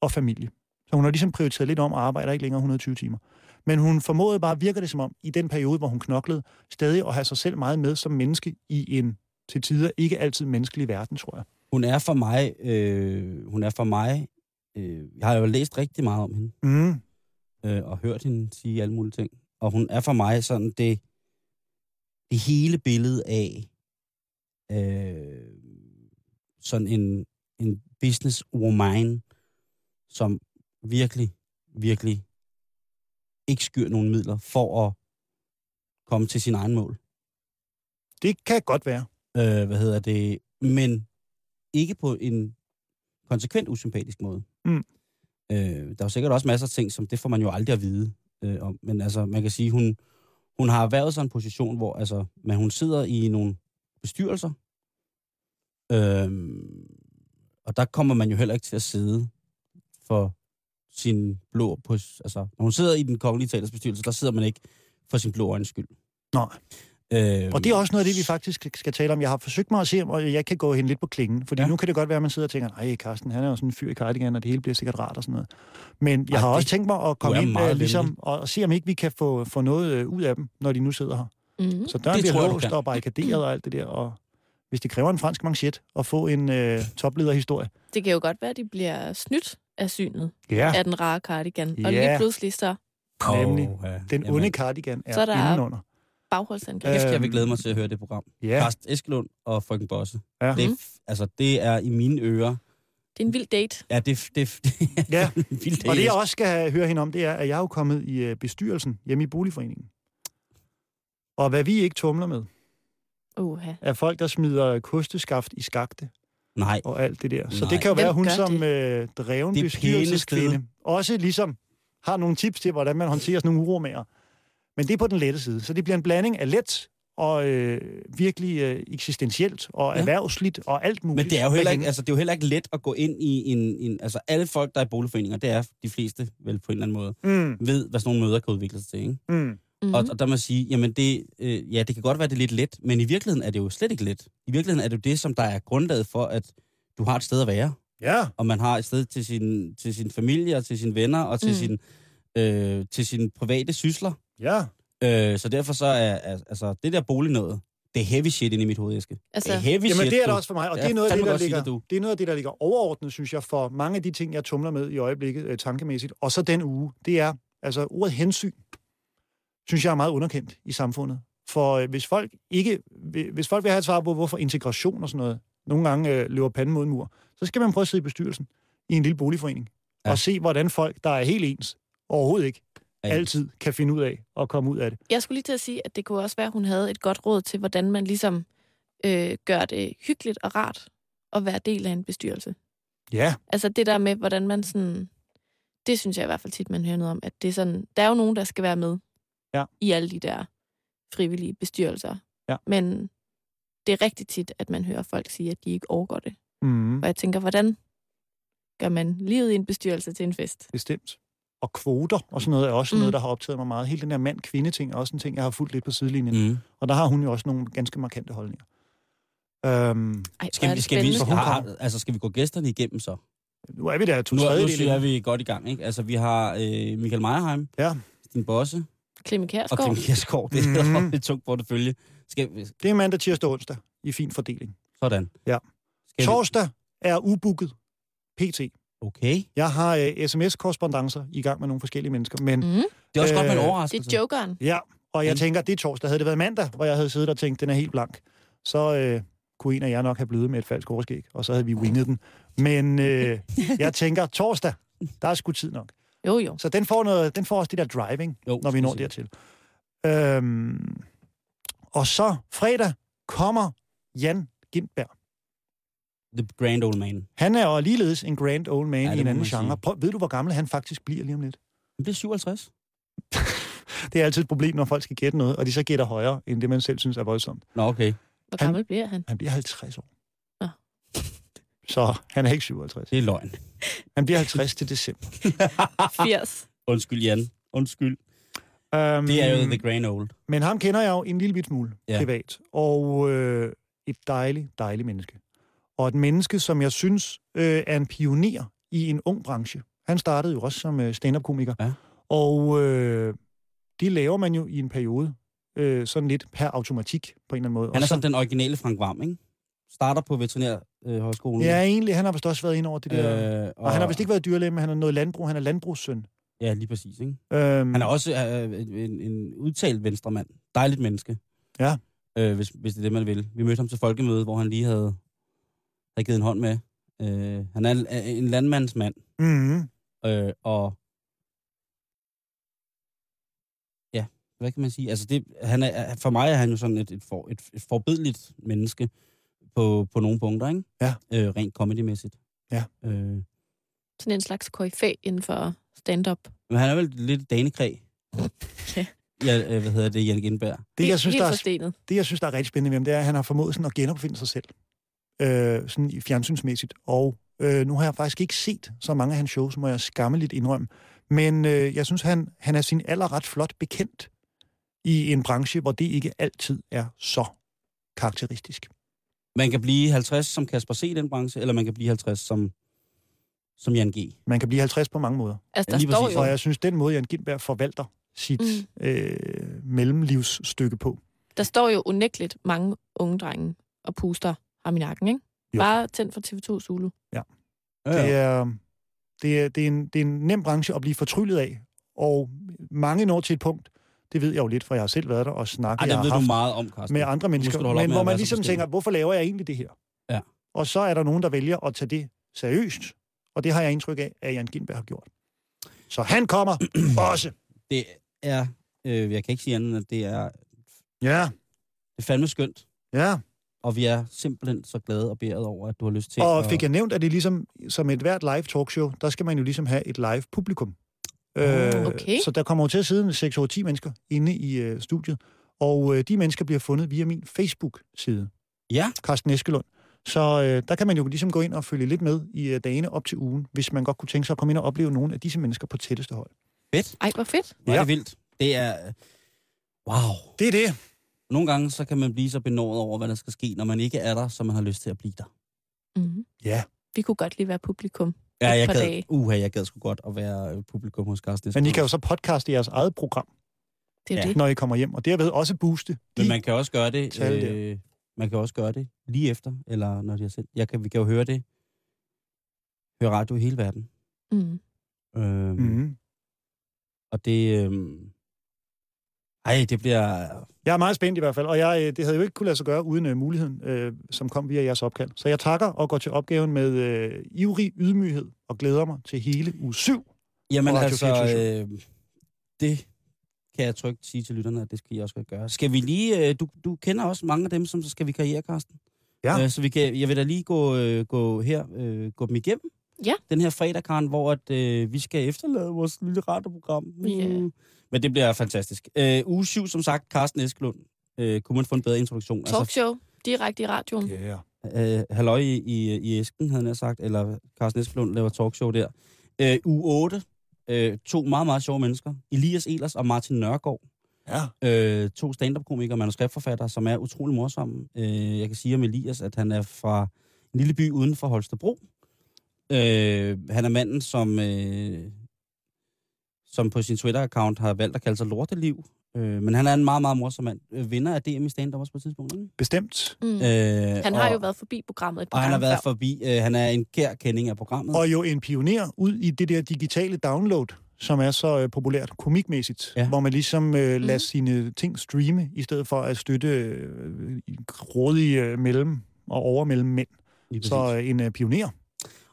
S4: og familie. Så hun har ligesom prioriteret lidt om og arbejder ikke længere 120 timer. Men hun formåede bare, virker det som om, i den periode, hvor hun knoklede, stadig at have sig selv meget med som menneske i en til tider ikke altid menneskelig verden, tror jeg.
S3: Hun er for mig, øh, hun er for mig, øh, jeg har jo læst rigtig meget om hende,
S4: Mm.
S3: øh, og hørt hende sige alle mulige ting. Og hun er for mig sådan det, det hele billede af øh, sådan en, en business woman, som virkelig, virkelig ikke skyr nogen midler for at komme til sin egen mål.
S4: Det kan godt være.
S3: Øh, hvad hedder det? Men ikke på en konsekvent usympatisk måde.
S4: Mm.
S3: Øh, der er jo sikkert også masser af ting, som det får man jo aldrig at vide øh, om. Men altså, man kan sige, hun, hun har erhvervet sig en position, hvor altså, men hun sidder i nogle bestyrelser, øh, og der kommer man jo heller ikke til at sidde for sin blå... På, altså, når hun sidder i den kongelige teaters bestyrelse, der sidder man ikke for sin blå øjens skyld.
S4: Nej.
S3: Øh,
S4: Og det er også noget af det, vi faktisk skal tale om. Jeg har forsøgt mig at se, om jeg kan gå hende lidt på klingen. Fordi
S3: Ja.
S4: ja. nu kan det godt være, at man sidder og tænker, nej, Carsten, han er jo sådan en fyr i cardigan, og det hele bliver sikkert rart og sådan noget. Men
S3: Ej,
S4: jeg Ej, har
S3: det-
S4: også tænkt mig at
S3: er
S4: komme ind
S3: meget
S4: øh, ligesom, og og se, om ikke vi kan få, få noget øh, ud af dem, når de nu sidder her.
S2: Mm.
S4: Så døren
S3: Det tror
S4: bliver
S3: jeg, du
S4: låst
S3: kan.
S4: og barrikaderet og alt det der. Og hvis det kræver en fransk manchet at få en øh, toplederhistorie.
S2: Det kan jo godt være, at de bliver snydt af synet
S4: Ja.
S2: af den rare cardigan. Og
S4: Ja.
S2: lige pludselig så
S4: Oh, Nemlig, ja. den onde Jamen. cardigan er,
S2: Så er der
S4: indenunder.
S2: Bagholdsangreb.
S3: Kæft, jeg vil glæde mig til at høre det program.
S4: Ja.
S3: Karst Eskelund og Frøken Bosse.
S4: Ja.
S3: Det, er f- altså, det er i mine ører.
S2: Det er en vild date.
S3: Ja, det, f- det, f- det er
S4: Ja.
S3: en vild
S4: Og det, jeg
S3: date.
S4: også skal have- høre hende om, det er, at jeg er jo kommet i øh, bestyrelsen hjemme i Boligforeningen. Og hvad vi ikke tumler med,
S2: Uha.
S4: er folk, der smider kosteskaft i skagte
S3: Nej,
S4: og alt det der. Så
S3: Nej.
S4: det kan jo
S2: Hvem
S4: være, hun
S2: gør
S4: som øh, dreven
S3: Det er pæne
S4: bestyrelseskvinde også ligesom har nogle tips til, hvordan man håndterer sådan nogle uromager. Men det er på den lette side. Så det bliver en blanding af let og øh, virkelig øh, eksistentielt og
S3: Ja.
S4: erhvervsligt og alt muligt.
S3: men det er, jo heller ikke,
S4: Men-
S3: altså, det er jo heller ikke let at gå ind i en, en... Altså, alle folk, der er i boligforeninger, det er de fleste vel på en eller anden måde,
S4: Mm,
S3: ved, hvad sådan nogle møder kan udvikle sig til, ikke?
S4: mm.
S2: Mm.
S3: Mm. Og, og der må jeg sige, jamen det, øh, ja, det kan godt være, det er lidt let, men i virkeligheden er det jo slet ikke let. I virkeligheden er det jo det, som der er grundlaget for, at du har et sted at være,
S4: Ja,
S3: og man har et sted til sin, til sin familie, og til sine venner, og til,
S2: Mm.
S3: mm. sin, øh, til sine private sysler.
S4: ja.
S3: Øh, så derfor så er, er altså, det der bolignødet, det er heavy shit inde i mit hovedæske.
S2: Altså,
S3: det er heavy
S4: Jamen,
S3: shit,
S4: det er der
S3: du.
S4: også for mig, og
S3: Ja,
S4: det er, noget af det,
S3: fandme
S4: der
S3: godt sige
S4: ligger,
S3: det, du.
S4: det er noget af det, der ligger overordnet, synes jeg, for mange af de ting, jeg tumler med i øjeblikket øh, tankemæssigt, og så den uge, det er, altså ordet hensyn, synes jeg er meget underkendt i samfundet. For øh, hvis folk ikke, vil- hvis folk vil have et svar på, hvorfor integration og sådan noget, nogle gange øh, løber panden mod en mur, så skal man prøve at sidde i bestyrelsen i en lille boligforening, ja.
S3: Ja.
S4: og se, hvordan folk, der er helt ens, overhovedet ikke,
S3: Ja.
S4: altid kan finde ud af at komme ud af det.
S2: Jeg skulle lige til at sige, at det kunne også være, at hun havde et godt råd til, hvordan man ligesom øh, gør det hyggeligt og rart at være del af en bestyrelse.
S4: Ja,
S2: Altså det der med, hvordan man sådan... Det synes jeg i hvert fald tit, man hører noget om, at det er sådan... Der er jo nogen, der skal være med
S4: Ja.
S2: i alle de der frivillige bestyrelser.
S4: Ja.
S2: Men det er rigtig tit, at man hører folk sige, at de ikke overgår det.
S4: mm,
S2: Og jeg tænker, hvordan gør man livet i en bestyrelse til en fest?
S4: bestemt. Og kvoter og sådan noget er også mm.
S2: Mm.
S4: noget, der har optaget mig meget. Hele den der mand-kvinde-ting er også en ting, jeg har fulgt lidt på sidelinjen. Mm.
S3: Mm.
S4: Og der har hun jo også nogle ganske markante holdninger. Øhm,
S2: Ej, hvor er
S3: Skal, vi,
S2: det
S3: skal, vi,
S2: spændende.
S4: For hun
S3: har,
S4: kommer.
S3: altså, skal vi gå gæsterne igennem så?
S4: nu er vi der to
S3: Nu, er- nu
S4: tredjedel.
S3: synes jeg, vi er godt i gang, ikke? Altså, vi har øh, Michael Meierheim,
S4: Ja.
S3: din bosse,
S2: Clemme
S3: og
S2: Kjærsgaard.
S3: Kim Kjersgaard. Det er
S4: Mhm.
S3: mm. lidt tungt portefølje. Skal, vi-
S4: Det er mandag, tirsdag og onsdag i fin fordeling.
S3: sådan.
S4: Ja.
S3: Skal vi-
S4: Torsdag er ubooket PT.
S3: Okay.
S4: Jeg har øh, sms-korrespondancer i gang med nogle forskellige mennesker, men
S2: Mm.
S3: Det er også godt med en
S4: Øh,
S2: Det
S3: overraskelse.
S2: er jokeren.
S4: ja, og jeg
S3: Men-
S4: tænker, det er torsdag. Havde det været mandag, hvor jeg havde siddet og tænkt, den er helt blank, så øh, kunne en af jer nok have blevet med et falsk overskæg, og så havde vi winget den. Men øh, jeg tænker, torsdag, der er sgu tid nok.
S2: Jo, jo.
S4: Så den får, noget, den får også det der driving,
S3: Jo,
S4: når vi når
S3: præcis.
S4: dertil. Øhm, og så fredag kommer Jan Gindberg.
S3: The Grand Old Man.
S4: Han er jo ligeledes en grand old man
S3: Ja,
S4: ja,
S3: det
S4: i en
S3: må
S4: anden
S3: man sige.
S4: genre. Prøv, ved du, hvor gammel han faktisk bliver lige om lidt?
S3: Han bliver 57.
S4: Det er altid et problem, når folk skal gætte noget, og de så gætter højere, end det man selv synes er voldsomt.
S3: Nå, okay.
S2: Hvor
S4: Han-
S2: gammel bliver han?
S4: Han bliver 50 år.
S2: Nå.
S4: Så han er ikke 57.
S3: Det er løgn.
S4: Han bliver 50 til december.
S3: Ah.
S2: 80.
S3: Undskyld, Jan. Undskyld.
S4: Um,
S3: Det er jo The Grand Old.
S4: Men ham kender jeg jo en lille bit smule ja.
S3: Ja.
S4: privat. Og øh, et dejligt, dejligt menneske. Og et menneske, som jeg synes øh, er en pioner i en ung branche. Han startede jo også som øh, stand-up-komiker.
S3: Ja.
S4: Og øh, det laver man jo i en periode, øh, sådan lidt per automatik på en eller anden måde.
S3: Han
S4: Og
S3: er
S4: så-
S3: sådan den originale Frank Varm, ikke? Starter på veterinærhøjskolen.
S4: Ja, egentlig. Han har vist også været ind over det der. Øh,
S3: øh,
S4: og, og han har vist ikke været dyrlæge, men han er noget landbrug. Han er landbrugssøn.
S3: Ja, lige præcis, ikke?
S4: Øhm,
S3: Han er også øh, en, en udtalt venstremand. Dejligt menneske.
S4: Ja.
S3: Øh, hvis, hvis det er det, man vil. Vi mødte ham til folkemødet, hvor han lige havde, havde givet en hånd med. Øh, han er en, en landmandsmand.
S4: mm-hmm.
S3: Øh, og ja, hvad kan man sige? Altså det, han er, for mig er han jo sådan et, et, for, et, et forbedeligt menneske på, på nogle punkter, ikke?
S4: Ja.
S3: Øh, rent comedymæssigt.
S4: Ja.
S3: Øh, men
S2: Sådan en slags koryfæ inden for stand-up.
S3: han er vel lidt danekræg.
S2: Ja.
S3: ja øh, hvad hedder det, Jan Genberg?
S4: Det, jeg
S2: Helt-
S4: synes,
S2: helt
S4: der er
S2: forstenet.
S4: det, jeg synes, der er rigtig spændende ved ham, det er, at han har formået sådan at genopfinde sig selv. Øh, sådan i fjernsynsmæssigt. Og øh, nu har jeg faktisk ikke set så mange af hans shows, må jeg skammeligt indrømme. Men øh, jeg synes, han, han er sin alder ret flot bekendt i en branche, hvor det ikke altid er så karakteristisk.
S3: Man kan blive 50 som Kasper C. i den branche, eller man kan blive 50 som, som Jan G.
S4: Man kan blive 50 på mange måder.
S2: Altså,
S3: Ja,
S2: der
S3: lige
S2: står
S3: præcis.
S2: jo...
S4: Og jeg synes, den måde, Jan Gindberg forvalter sit
S2: Mm.
S4: mm. øh, mellemlivsstykke på.
S2: Der står jo unægteligt mange unge drenge og puster ham i nakken, ikke?
S4: Jo.
S2: Bare tændt for TV2 Zulu.
S3: Ja,
S4: Det er, det er, det er, en, det er en nem branche at blive fortryllet af, og mange når til et punkt, det ved jeg jo lidt, for jeg har selv været der og snakket
S3: Ej, det
S4: jeg
S3: ved
S4: har
S3: du
S4: haft
S3: meget om, Carsten.
S4: med andre
S3: Nu skal du
S4: mennesker,
S3: holde op
S4: men
S3: med
S4: hvor
S3: at
S4: man
S3: være så
S4: ligesom
S3: forskellig.
S4: tænker, hvorfor laver jeg egentlig det her?
S3: Ja.
S4: Og så er der nogen, der vælger at tage det seriøst, og det har jeg indtryk af, at Jan Gindberg har gjort. Så han kommer også.
S3: Det er, øh, jeg kan ikke sige andet, end at det er,
S4: Ja,
S3: det er fandme skønt.
S4: ja.
S3: Og vi er simpelthen så glade og bæret over, at du har lyst til
S4: Og
S3: at...
S4: fik jeg nævnt, at det er ligesom som et hvert live talkshow, der skal man jo ligesom have et live publikum. Øh,
S2: Okay.
S4: Så der kommer jo til at sidde 6-10 mennesker inde i øh, studiet, og øh, de mennesker bliver fundet via min Facebook-side,
S3: Ja,
S4: Carsten Eskelund. Så øh, der kan man jo ligesom gå ind og følge lidt med i øh, dagene op til ugen, hvis man godt kunne tænke sig at komme ind og opleve nogle af disse mennesker på tætteste hold.
S3: fedt.
S2: Ej, hvor fedt.
S3: Hvor er
S4: Ja.
S3: det vildt. Det er... øh, Wow.
S4: Det er det.
S3: Nogle gange, så kan man blive så benådet over, hvad der skal ske, når man ikke er der, så man har lyst til at blive der.
S2: Mm.
S4: Ja,
S2: Vi kunne godt lige være publikum.
S3: Ja,
S2: Et
S3: jeg
S2: par
S3: gad,
S2: dage.
S3: uha, jeg gad sgu godt at være øh, publikum hos Carsten.
S4: men I kan jo så podcaste jeres eget program,
S2: Det er
S3: Ja.
S2: ja. det.
S4: når I kommer hjem, og derved også booste.
S3: Men
S4: de-
S3: man kan også gøre det,
S4: Tal der.
S3: øh, man kan også gøre det lige efter, eller når de har sendt. Jeg kan, vi kan jo høre det. Høre radio i hele verden.
S2: Mm.
S3: Øhm, mm.
S4: Mhm.
S3: Og det... Øhm, ej, det bliver...
S4: Jeg er meget spændt i hvert fald, og jeg, øh, det havde jo ikke kunne lade sig gøre uden øh, muligheden, øh, som kom via jeres opkald. Så jeg takker og går til opgaven med øh, ivrig ydmyghed og glæder mig til hele uge 7.
S3: Jamen
S4: Radio
S3: altså,
S4: 24syv.
S3: øh, det kan jeg trygt sige til lytterne, at det skal I også godt gøre. Skal vi lige... Øh, du, du kender også mange af dem, som så skal vi karriere, Carsten.
S4: Ja.
S3: Øh, så vi kan, jeg vil da lige gå, øh, gå her, øh, gå dem igennem.
S2: Ja.
S3: Den her fredag, Karen, hvor at, øh, vi skal efterlade vores lille radioprogram.
S2: Ja.
S3: Mm. Men det bliver fantastisk. Øh, uge 7, som sagt, Carsten Eskelund. Øh, kunne man få en bedre introduktion? Altså,
S2: Talkshow, direkte i radioen.
S4: Ja. Yeah.
S3: øh, halløj i, i, i æsken, havde jeg sagt, eller Carsten Eskelund laver talkshow der. Øh, u 8, øh, to meget, meget sjove mennesker, Elias Elers og Martin Nørgaard.
S4: Ja.
S3: Øh, to stand-up-komikere og manuskriptforfattere, som er utrolig morsomme. Øh, jeg kan sige om Elias, at han er fra en lille by uden for Holstebro. Øh, han er manden, som, øh, som på sin Twitter-account har valgt at kalde sig Lorteliv. Øh, men han er en meget, meget morsom mand. Øh, vinder af DM i stand-up også på et tidspunkt. Ikke?
S4: Bestemt.
S2: Mm.
S3: Øh,
S2: Han har
S3: og-
S2: jo været forbi programmet et par
S3: og han har
S2: gange
S3: været
S2: før.
S3: forbi. Øh, han er en kær kending af programmet.
S4: Og jo en pioner ud i det der digitale download, som er så øh, populært komikmæssigt,
S3: Ja.
S4: ja. hvor man ligesom øh, lader
S2: Mhm.
S4: mm. sine ting streame, i stedet for at støtte øh, rådige øh, mellem og overmellem mænd.
S3: Lige præcis.
S4: Så øh, en øh, pioner.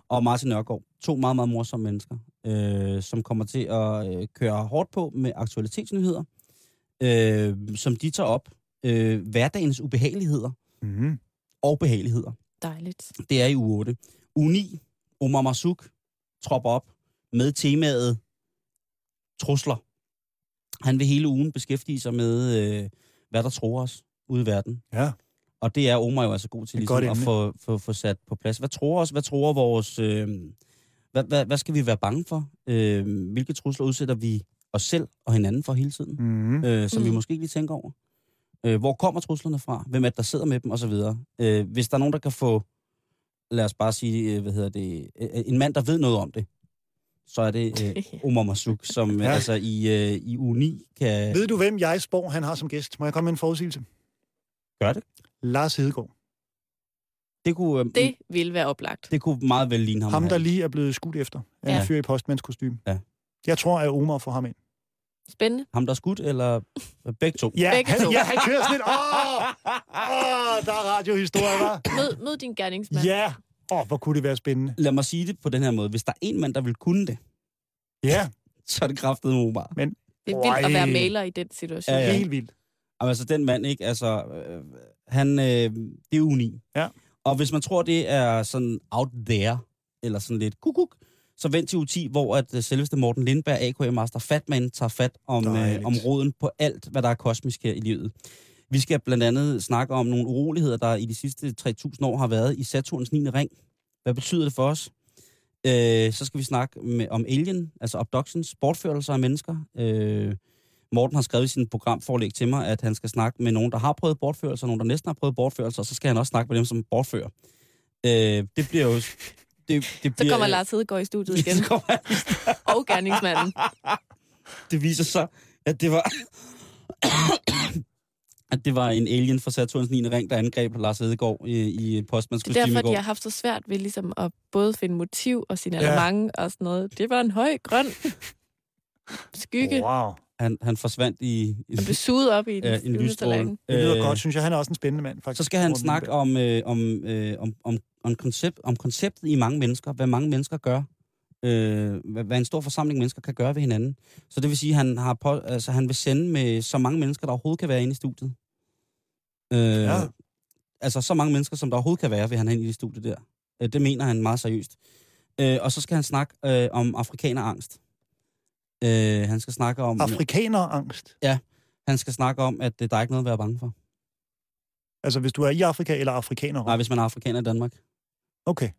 S3: og Martin Nørgaard. To meget, meget morsomme mennesker, øh, som kommer til at øh, køre hårdt på med aktualitetsnyheder, øh, som de tager op. Øh, hverdagens ubehageligheder
S4: Mm.
S3: og behageligheder.
S2: Dejligt.
S3: Det er i uge 8. Uge 9, Omar Masuk tropper op med temaet trusler. Han vil hele ugen beskæftige sig med, øh, hvad der tror os ude i verden.
S4: Ja.
S3: Og det er Omar jo altså god til
S4: Et
S3: ligesom,
S4: godt
S3: at
S4: emne.
S3: få, få, få sat på plads. Hvad tror os? Hvad tror vores... Øh, hvad, hvad, hvad skal vi være bange for? Øh, hvilke trusler udsætter vi os selv og hinanden for hele tiden?
S4: Mm.
S3: øh, som mm. vi
S2: Mm.
S3: måske ikke lige tænker over. Øh, hvor kommer truslerne fra? Hvem er det, der sidder med dem? Og så videre. Øh, hvis der er nogen, der kan få, lad os bare sige, øh, hvad hedder det, øh, en mand, der ved noget om det, så er det øh, Omar Masuk, som ja.
S4: Ja.
S3: altså i, øh, i uge 9 kan...
S4: Ved du, hvem jeg spår, han har som gæst? Må jeg komme med en forudsigelse?
S3: Gør det?
S4: Lars Hedegaard.
S3: Det kunne, øh,
S2: Det
S3: det.
S2: ville være oplagt.
S3: det kunne meget vel ligne ham.
S4: Ham,
S3: her.
S4: der lige er blevet skudt efter af ja.
S2: Ja.
S4: en fyr i postmandskostyme.
S3: Ja.
S4: Jeg tror, at Omar får ham ind.
S2: Spændende.
S3: ham, der er skudt, eller øh, begge to?
S4: Ja,
S2: Begge
S4: han,
S2: to.
S4: ja, han kører sådan lidt. Åh, åh der er radiohistorie, hva'?
S2: Mød, mød din gerningsmand.
S4: Ja. Åh, hvor kunne det være spændende.
S3: Lad mig sige det på den her måde. Hvis der er en mand, der vil kunne det,
S4: Ja,
S3: så er det kraftet Omar.
S2: Det er vildt at være
S4: Ej.
S2: maler i den situation.
S3: Ja,
S4: ja,
S3: ja.
S4: ja. helt vildt.
S3: Jamen, altså den mand, ikke? Altså, øh, han, øh, det er uni.
S4: Ja.
S3: Og hvis man tror, det er sådan out there, eller sådan lidt kukuk, så vent til u 10, hvor at øh, selveste Morten Lindberg, AKM Master Fatman, tager fat om, øh,
S4: Dejligt.
S3: om roden på alt, hvad der er kosmisk her i livet. Vi skal blandt andet snakke om nogle uroligheder, der i de sidste 3.000 år har været i Saturns 9. ring. Hvad betyder det for os? Øh, så skal vi snakke med, om alien, altså abductions, bortførelser af mennesker. Øh, Morten har skrevet i sin programforlæg til mig, at han skal snakke med nogen, der har prøvet bortførelser, nogen, der næsten har prøvet bortførelser, og så skal han også snakke med dem, som bortfører. Øh, det bliver jo... Det, det
S2: Så
S3: bliver,
S2: kommer Lars Hedegaard i studiet igen.
S3: Så kommer han
S2: Og gerningsmanden.
S3: det viser sig, at det var... at det var en alien fra Saturns 9. ring, der angreb Lars Hedegaard i, i
S2: Det er
S3: postmandskostyme
S2: derfor,
S3: i går.
S2: de har haft så svært ved ligesom at både finde motiv og signalement ja. og sådan noget. Det var en høj, grøn skygge.
S4: Wow.
S3: Han, han forsvandt i...
S2: Han blev suget op i den
S3: øh, en lysstråle.
S4: Det lyder godt, synes jeg. Han er også en spændende mand, faktisk.
S3: Så skal han snakke om, øh, om, øh, om, om, om, koncept, om konceptet i mange mennesker, hvad mange mennesker gør, øh, hvad, hvad en stor forsamling mennesker kan gøre ved hinanden. Så det vil sige, at han, har på, altså, han vil sende med så mange mennesker, der overhovedet kan være inde i studiet. Øh, ja. Altså så mange mennesker, som der overhovedet kan være, vil han have ind i det studie der. Øh, det mener han meget seriøst. Øh, og så skal han snakke øh, om afrikanerangst. Øh, han skal snakke om...
S4: Afrikanerangst?
S3: Ja, han skal snakke om, at øh, der er ikke noget at være bange for.
S4: Altså hvis du er i Afrika eller afrikaner?
S3: Nej, hvis man er afrikaner i Danmark.
S4: Okay.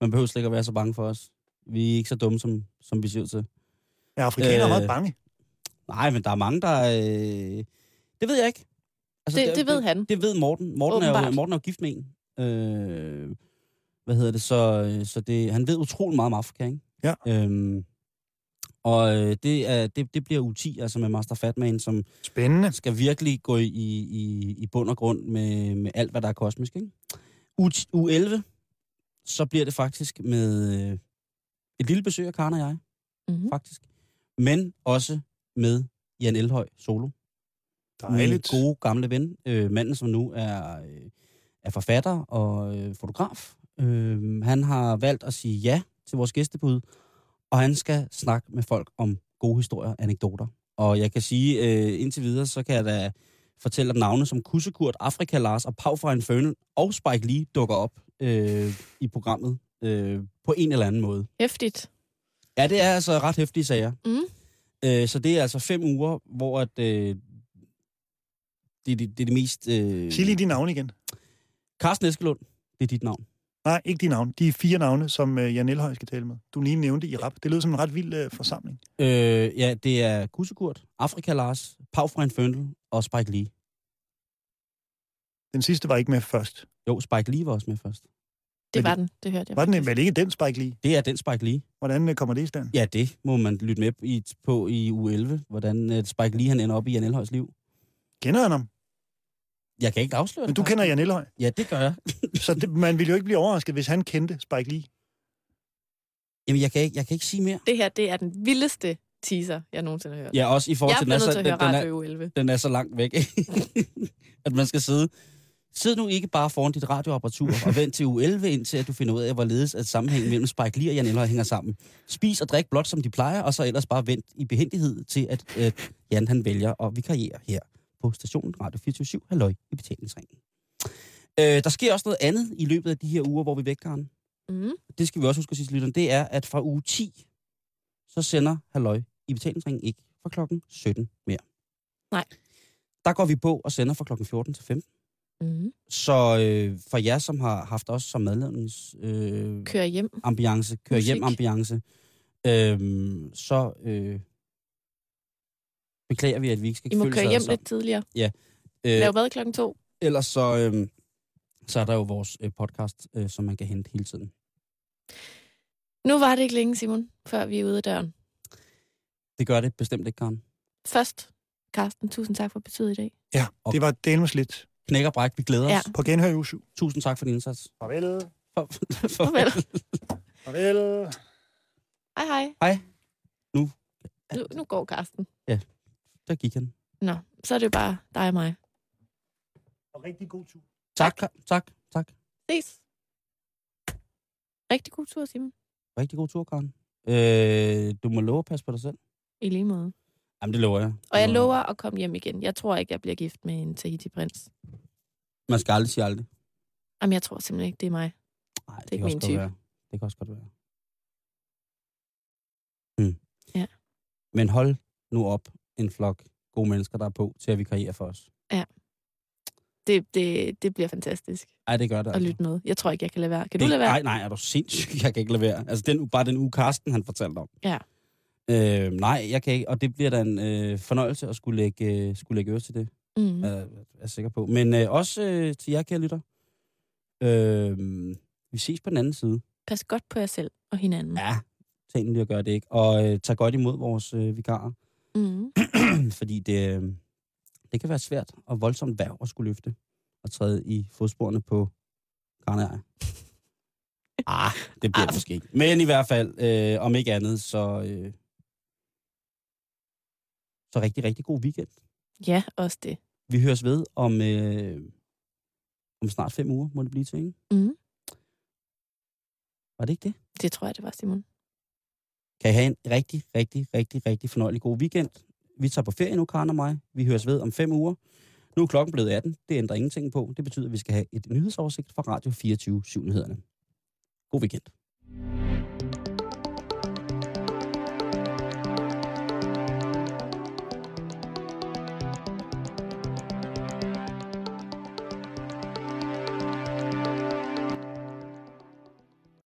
S3: Man behøver slet ikke at være så bange for os. Vi er ikke så dumme, som, som vi ser ud til.
S4: Er afrikanere øh, meget bange?
S3: Nej, men der er mange, der... Øh, det ved jeg ikke.
S2: Altså, det, det, det ved han.
S3: Det, det ved Morten. Morten Åbenbart. er, jo, Morten er jo gift med en. Øh, hvad hedder det? Så, øh, så det, han ved utrolig meget om Afrika, ikke?
S4: Ja.
S3: Øhm, og øh, det, er, det, det bliver U10, altså med Master Fatman, som
S4: Spændende.
S3: skal virkelig gå i, i, i bund og grund med, med alt, hvad der er kosmisk. Ikke? U, U11, så bliver det faktisk med øh, et lille besøg af Karen og jeg, mm-hmm. faktisk. Men også med Jan Elhøj solo.
S4: Dejligt.
S3: Min gode gamle ven, øh, manden som nu er, øh, er forfatter og øh, fotograf. Øh, han har valgt at sige ja til vores gæstebud, og han skal snakke med folk om gode historier og anekdoter. Og jeg kan sige, øh, indtil videre, så kan jeg da fortælle om navne som Kussekurt, Afrika Lars og Pau fra Infernal og Spike Lee dukker op øh, i programmet øh, på en eller anden måde.
S2: Hæftigt.
S3: Ja, det er altså ret hæftige sager. Mm. Øh, så det er altså fem uger, hvor at, øh, det, det, det er det mest... Øh...
S4: Sig lige dit navn igen.
S3: Carsten Eskelund, det er dit navn.
S4: Nej, ikke dit navn. De er fire navne, som øh, Jan Elhøj skal tale med. Du lige nævnte i rap. Det lød som en ret vild øh, forsamling.
S3: Øh, ja, det er Kussekurt, Afrika Lars, Pau fra Infernal og Spike Lee.
S4: Den sidste var ikke med først.
S3: Jo, Spike Lee var også med først.
S2: Det var den, det hørte jeg.
S4: Var den vel ikke den Spike Lee?
S3: Det er den Spike Lee.
S4: Hvordan øh, kommer det i stand?
S3: Ja, det må man lytte med i, på i u 11, hvordan uh, Spike Lee han ender op i Jan Elhøjs liv.
S4: Kender han ham?
S3: Jeg kan ikke afsløre
S4: Men du kender Jan Elhøj?
S3: Ja, det gør jeg.
S4: så det, man ville jo ikke blive overrasket, hvis han kendte Spike Lee.
S3: Jamen, jeg kan, ikke, jeg kan ikke sige mere.
S2: Det her, det er den vildeste teaser, jeg nogensinde har hørt.
S3: Ja, også i forhold til,
S2: den er,
S3: så,
S2: til den, den, er, 11.
S3: den er så langt væk, at man skal sidde Sid nu ikke bare foran dit radioapparatur og vent til uge 11, indtil at du finder ud af, hvorledes at sammenhængen mellem Spike Lee og Jan Elhøj hænger sammen. Spis og drik blot, som de plejer, og så ellers bare vent i behendighed til, at øh, Jan han vælger at vikariere her på stationen Radio 24 Halløj i betalingsringen. Øh, der sker også noget andet i løbet af de her uger, hvor vi vækker Karen.
S2: Mhm.
S3: Mm. Det skal vi også huske at sige lytteren. Det er, at fra uge 10, så sender Halløj i betalingsringen ikke fra klokken 17 mere.
S2: Nej.
S3: Der går vi på og sender fra klokken 14 til 15.
S2: Mhm.
S3: Mm. Så øh, for jer, som har haft os som medlemmens...
S2: Øh, kører hjem.
S3: Ambiance, kører Musik. hjem ambiance, øh, så øh, beklager vi, at vi ikke skal
S2: I må
S3: føle
S2: køre hjem altså. lidt tidligere.
S3: Ja.
S2: Øh, Lav hvad klokken to?
S3: Ellers så, øh, så er der jo vores øh, podcast, øh, som man kan hente hele tiden.
S2: Nu var det ikke længe, Simon, før vi er ude af døren.
S3: Det gør det bestemt ikke, Karen.
S2: Først, Karsten, tusind tak for besøget i dag.
S4: Ja, det var delvis lidt
S3: knæk og bræk. Vi glæder ja. os.
S4: På genhør i uge 7.
S3: Tusind tak for din indsats.
S4: Farvel.
S3: For,
S2: for, farvel.
S4: Farvel.
S2: Hej, hej.
S3: Hej. Nu.
S2: nu. Nu går Karsten.
S3: Ja, der gik han.
S2: Nå, så er det bare dig og mig.
S4: Og rigtig god tur.
S3: Tak, tak, tak. tak.
S2: Ses. Rigtig god tur, Simon.
S3: Rigtig god tur, Karen. Øh, du må love at passe på dig selv.
S2: I lige måde.
S3: Jamen, det lover jeg.
S2: Og jeg lover at komme hjem igen. Jeg tror ikke, jeg bliver gift med en Tahiti-prins.
S3: Man skal aldrig sige aldrig.
S2: Jamen, jeg tror simpelthen ikke, det er mig.
S3: Nej, det, det er ikke min type. Være. Det kan også godt være. Hmm.
S2: Ja.
S3: Men hold nu op en flok gode mennesker, der er på til at vi karriere for os.
S2: Ja. Det, det, det bliver fantastisk.
S3: Nej, det gør det.
S2: At altså. lytte med. Jeg tror ikke, jeg kan lade være. Kan det, du lade være?
S3: Nej, nej, er du sindssyg? Jeg kan ikke lade være. Altså, den, bare den uge Karsten, han fortalte om.
S2: Ja.
S3: Øh, nej, jeg kan ikke, og det bliver da en øh, fornøjelse at skulle lægge, øh, skulle lægge øre til det. Mm. Øh, er jeg sikker på. Men øh, også øh, til jer, kære lytter. Øh, vi ses på den anden side.
S2: Pas godt på jer selv og hinanden.
S3: Ja, tag lige og gør det ikke. Og øh, tag godt imod vores øh, vikarer. Mm. Fordi det, øh, det kan være svært og voldsomt værv at skulle løfte og træde i fodsporene på Karnejej. ah, det bliver det måske ikke. Men i hvert fald, øh, om ikke andet, så... Øh, Så rigtig, rigtig god weekend.
S2: Ja, også det.
S3: Vi høres ved om, øh, om snart fem uger, må det blive til, ikke?
S2: Mm.
S3: Var det ikke det?
S2: Det tror jeg, det var, Simon.
S3: Kan I have en rigtig, rigtig, rigtig, rigtig fornøjelig god weekend. Vi tager på ferie nu, Karen og mig. Vi høres ved om fem uger. Nu er klokken blevet 18. Det ændrer ingenting på. Det betyder, at vi skal have et nyhedsoversigt fra Radio 24 7 nyhederne God weekend.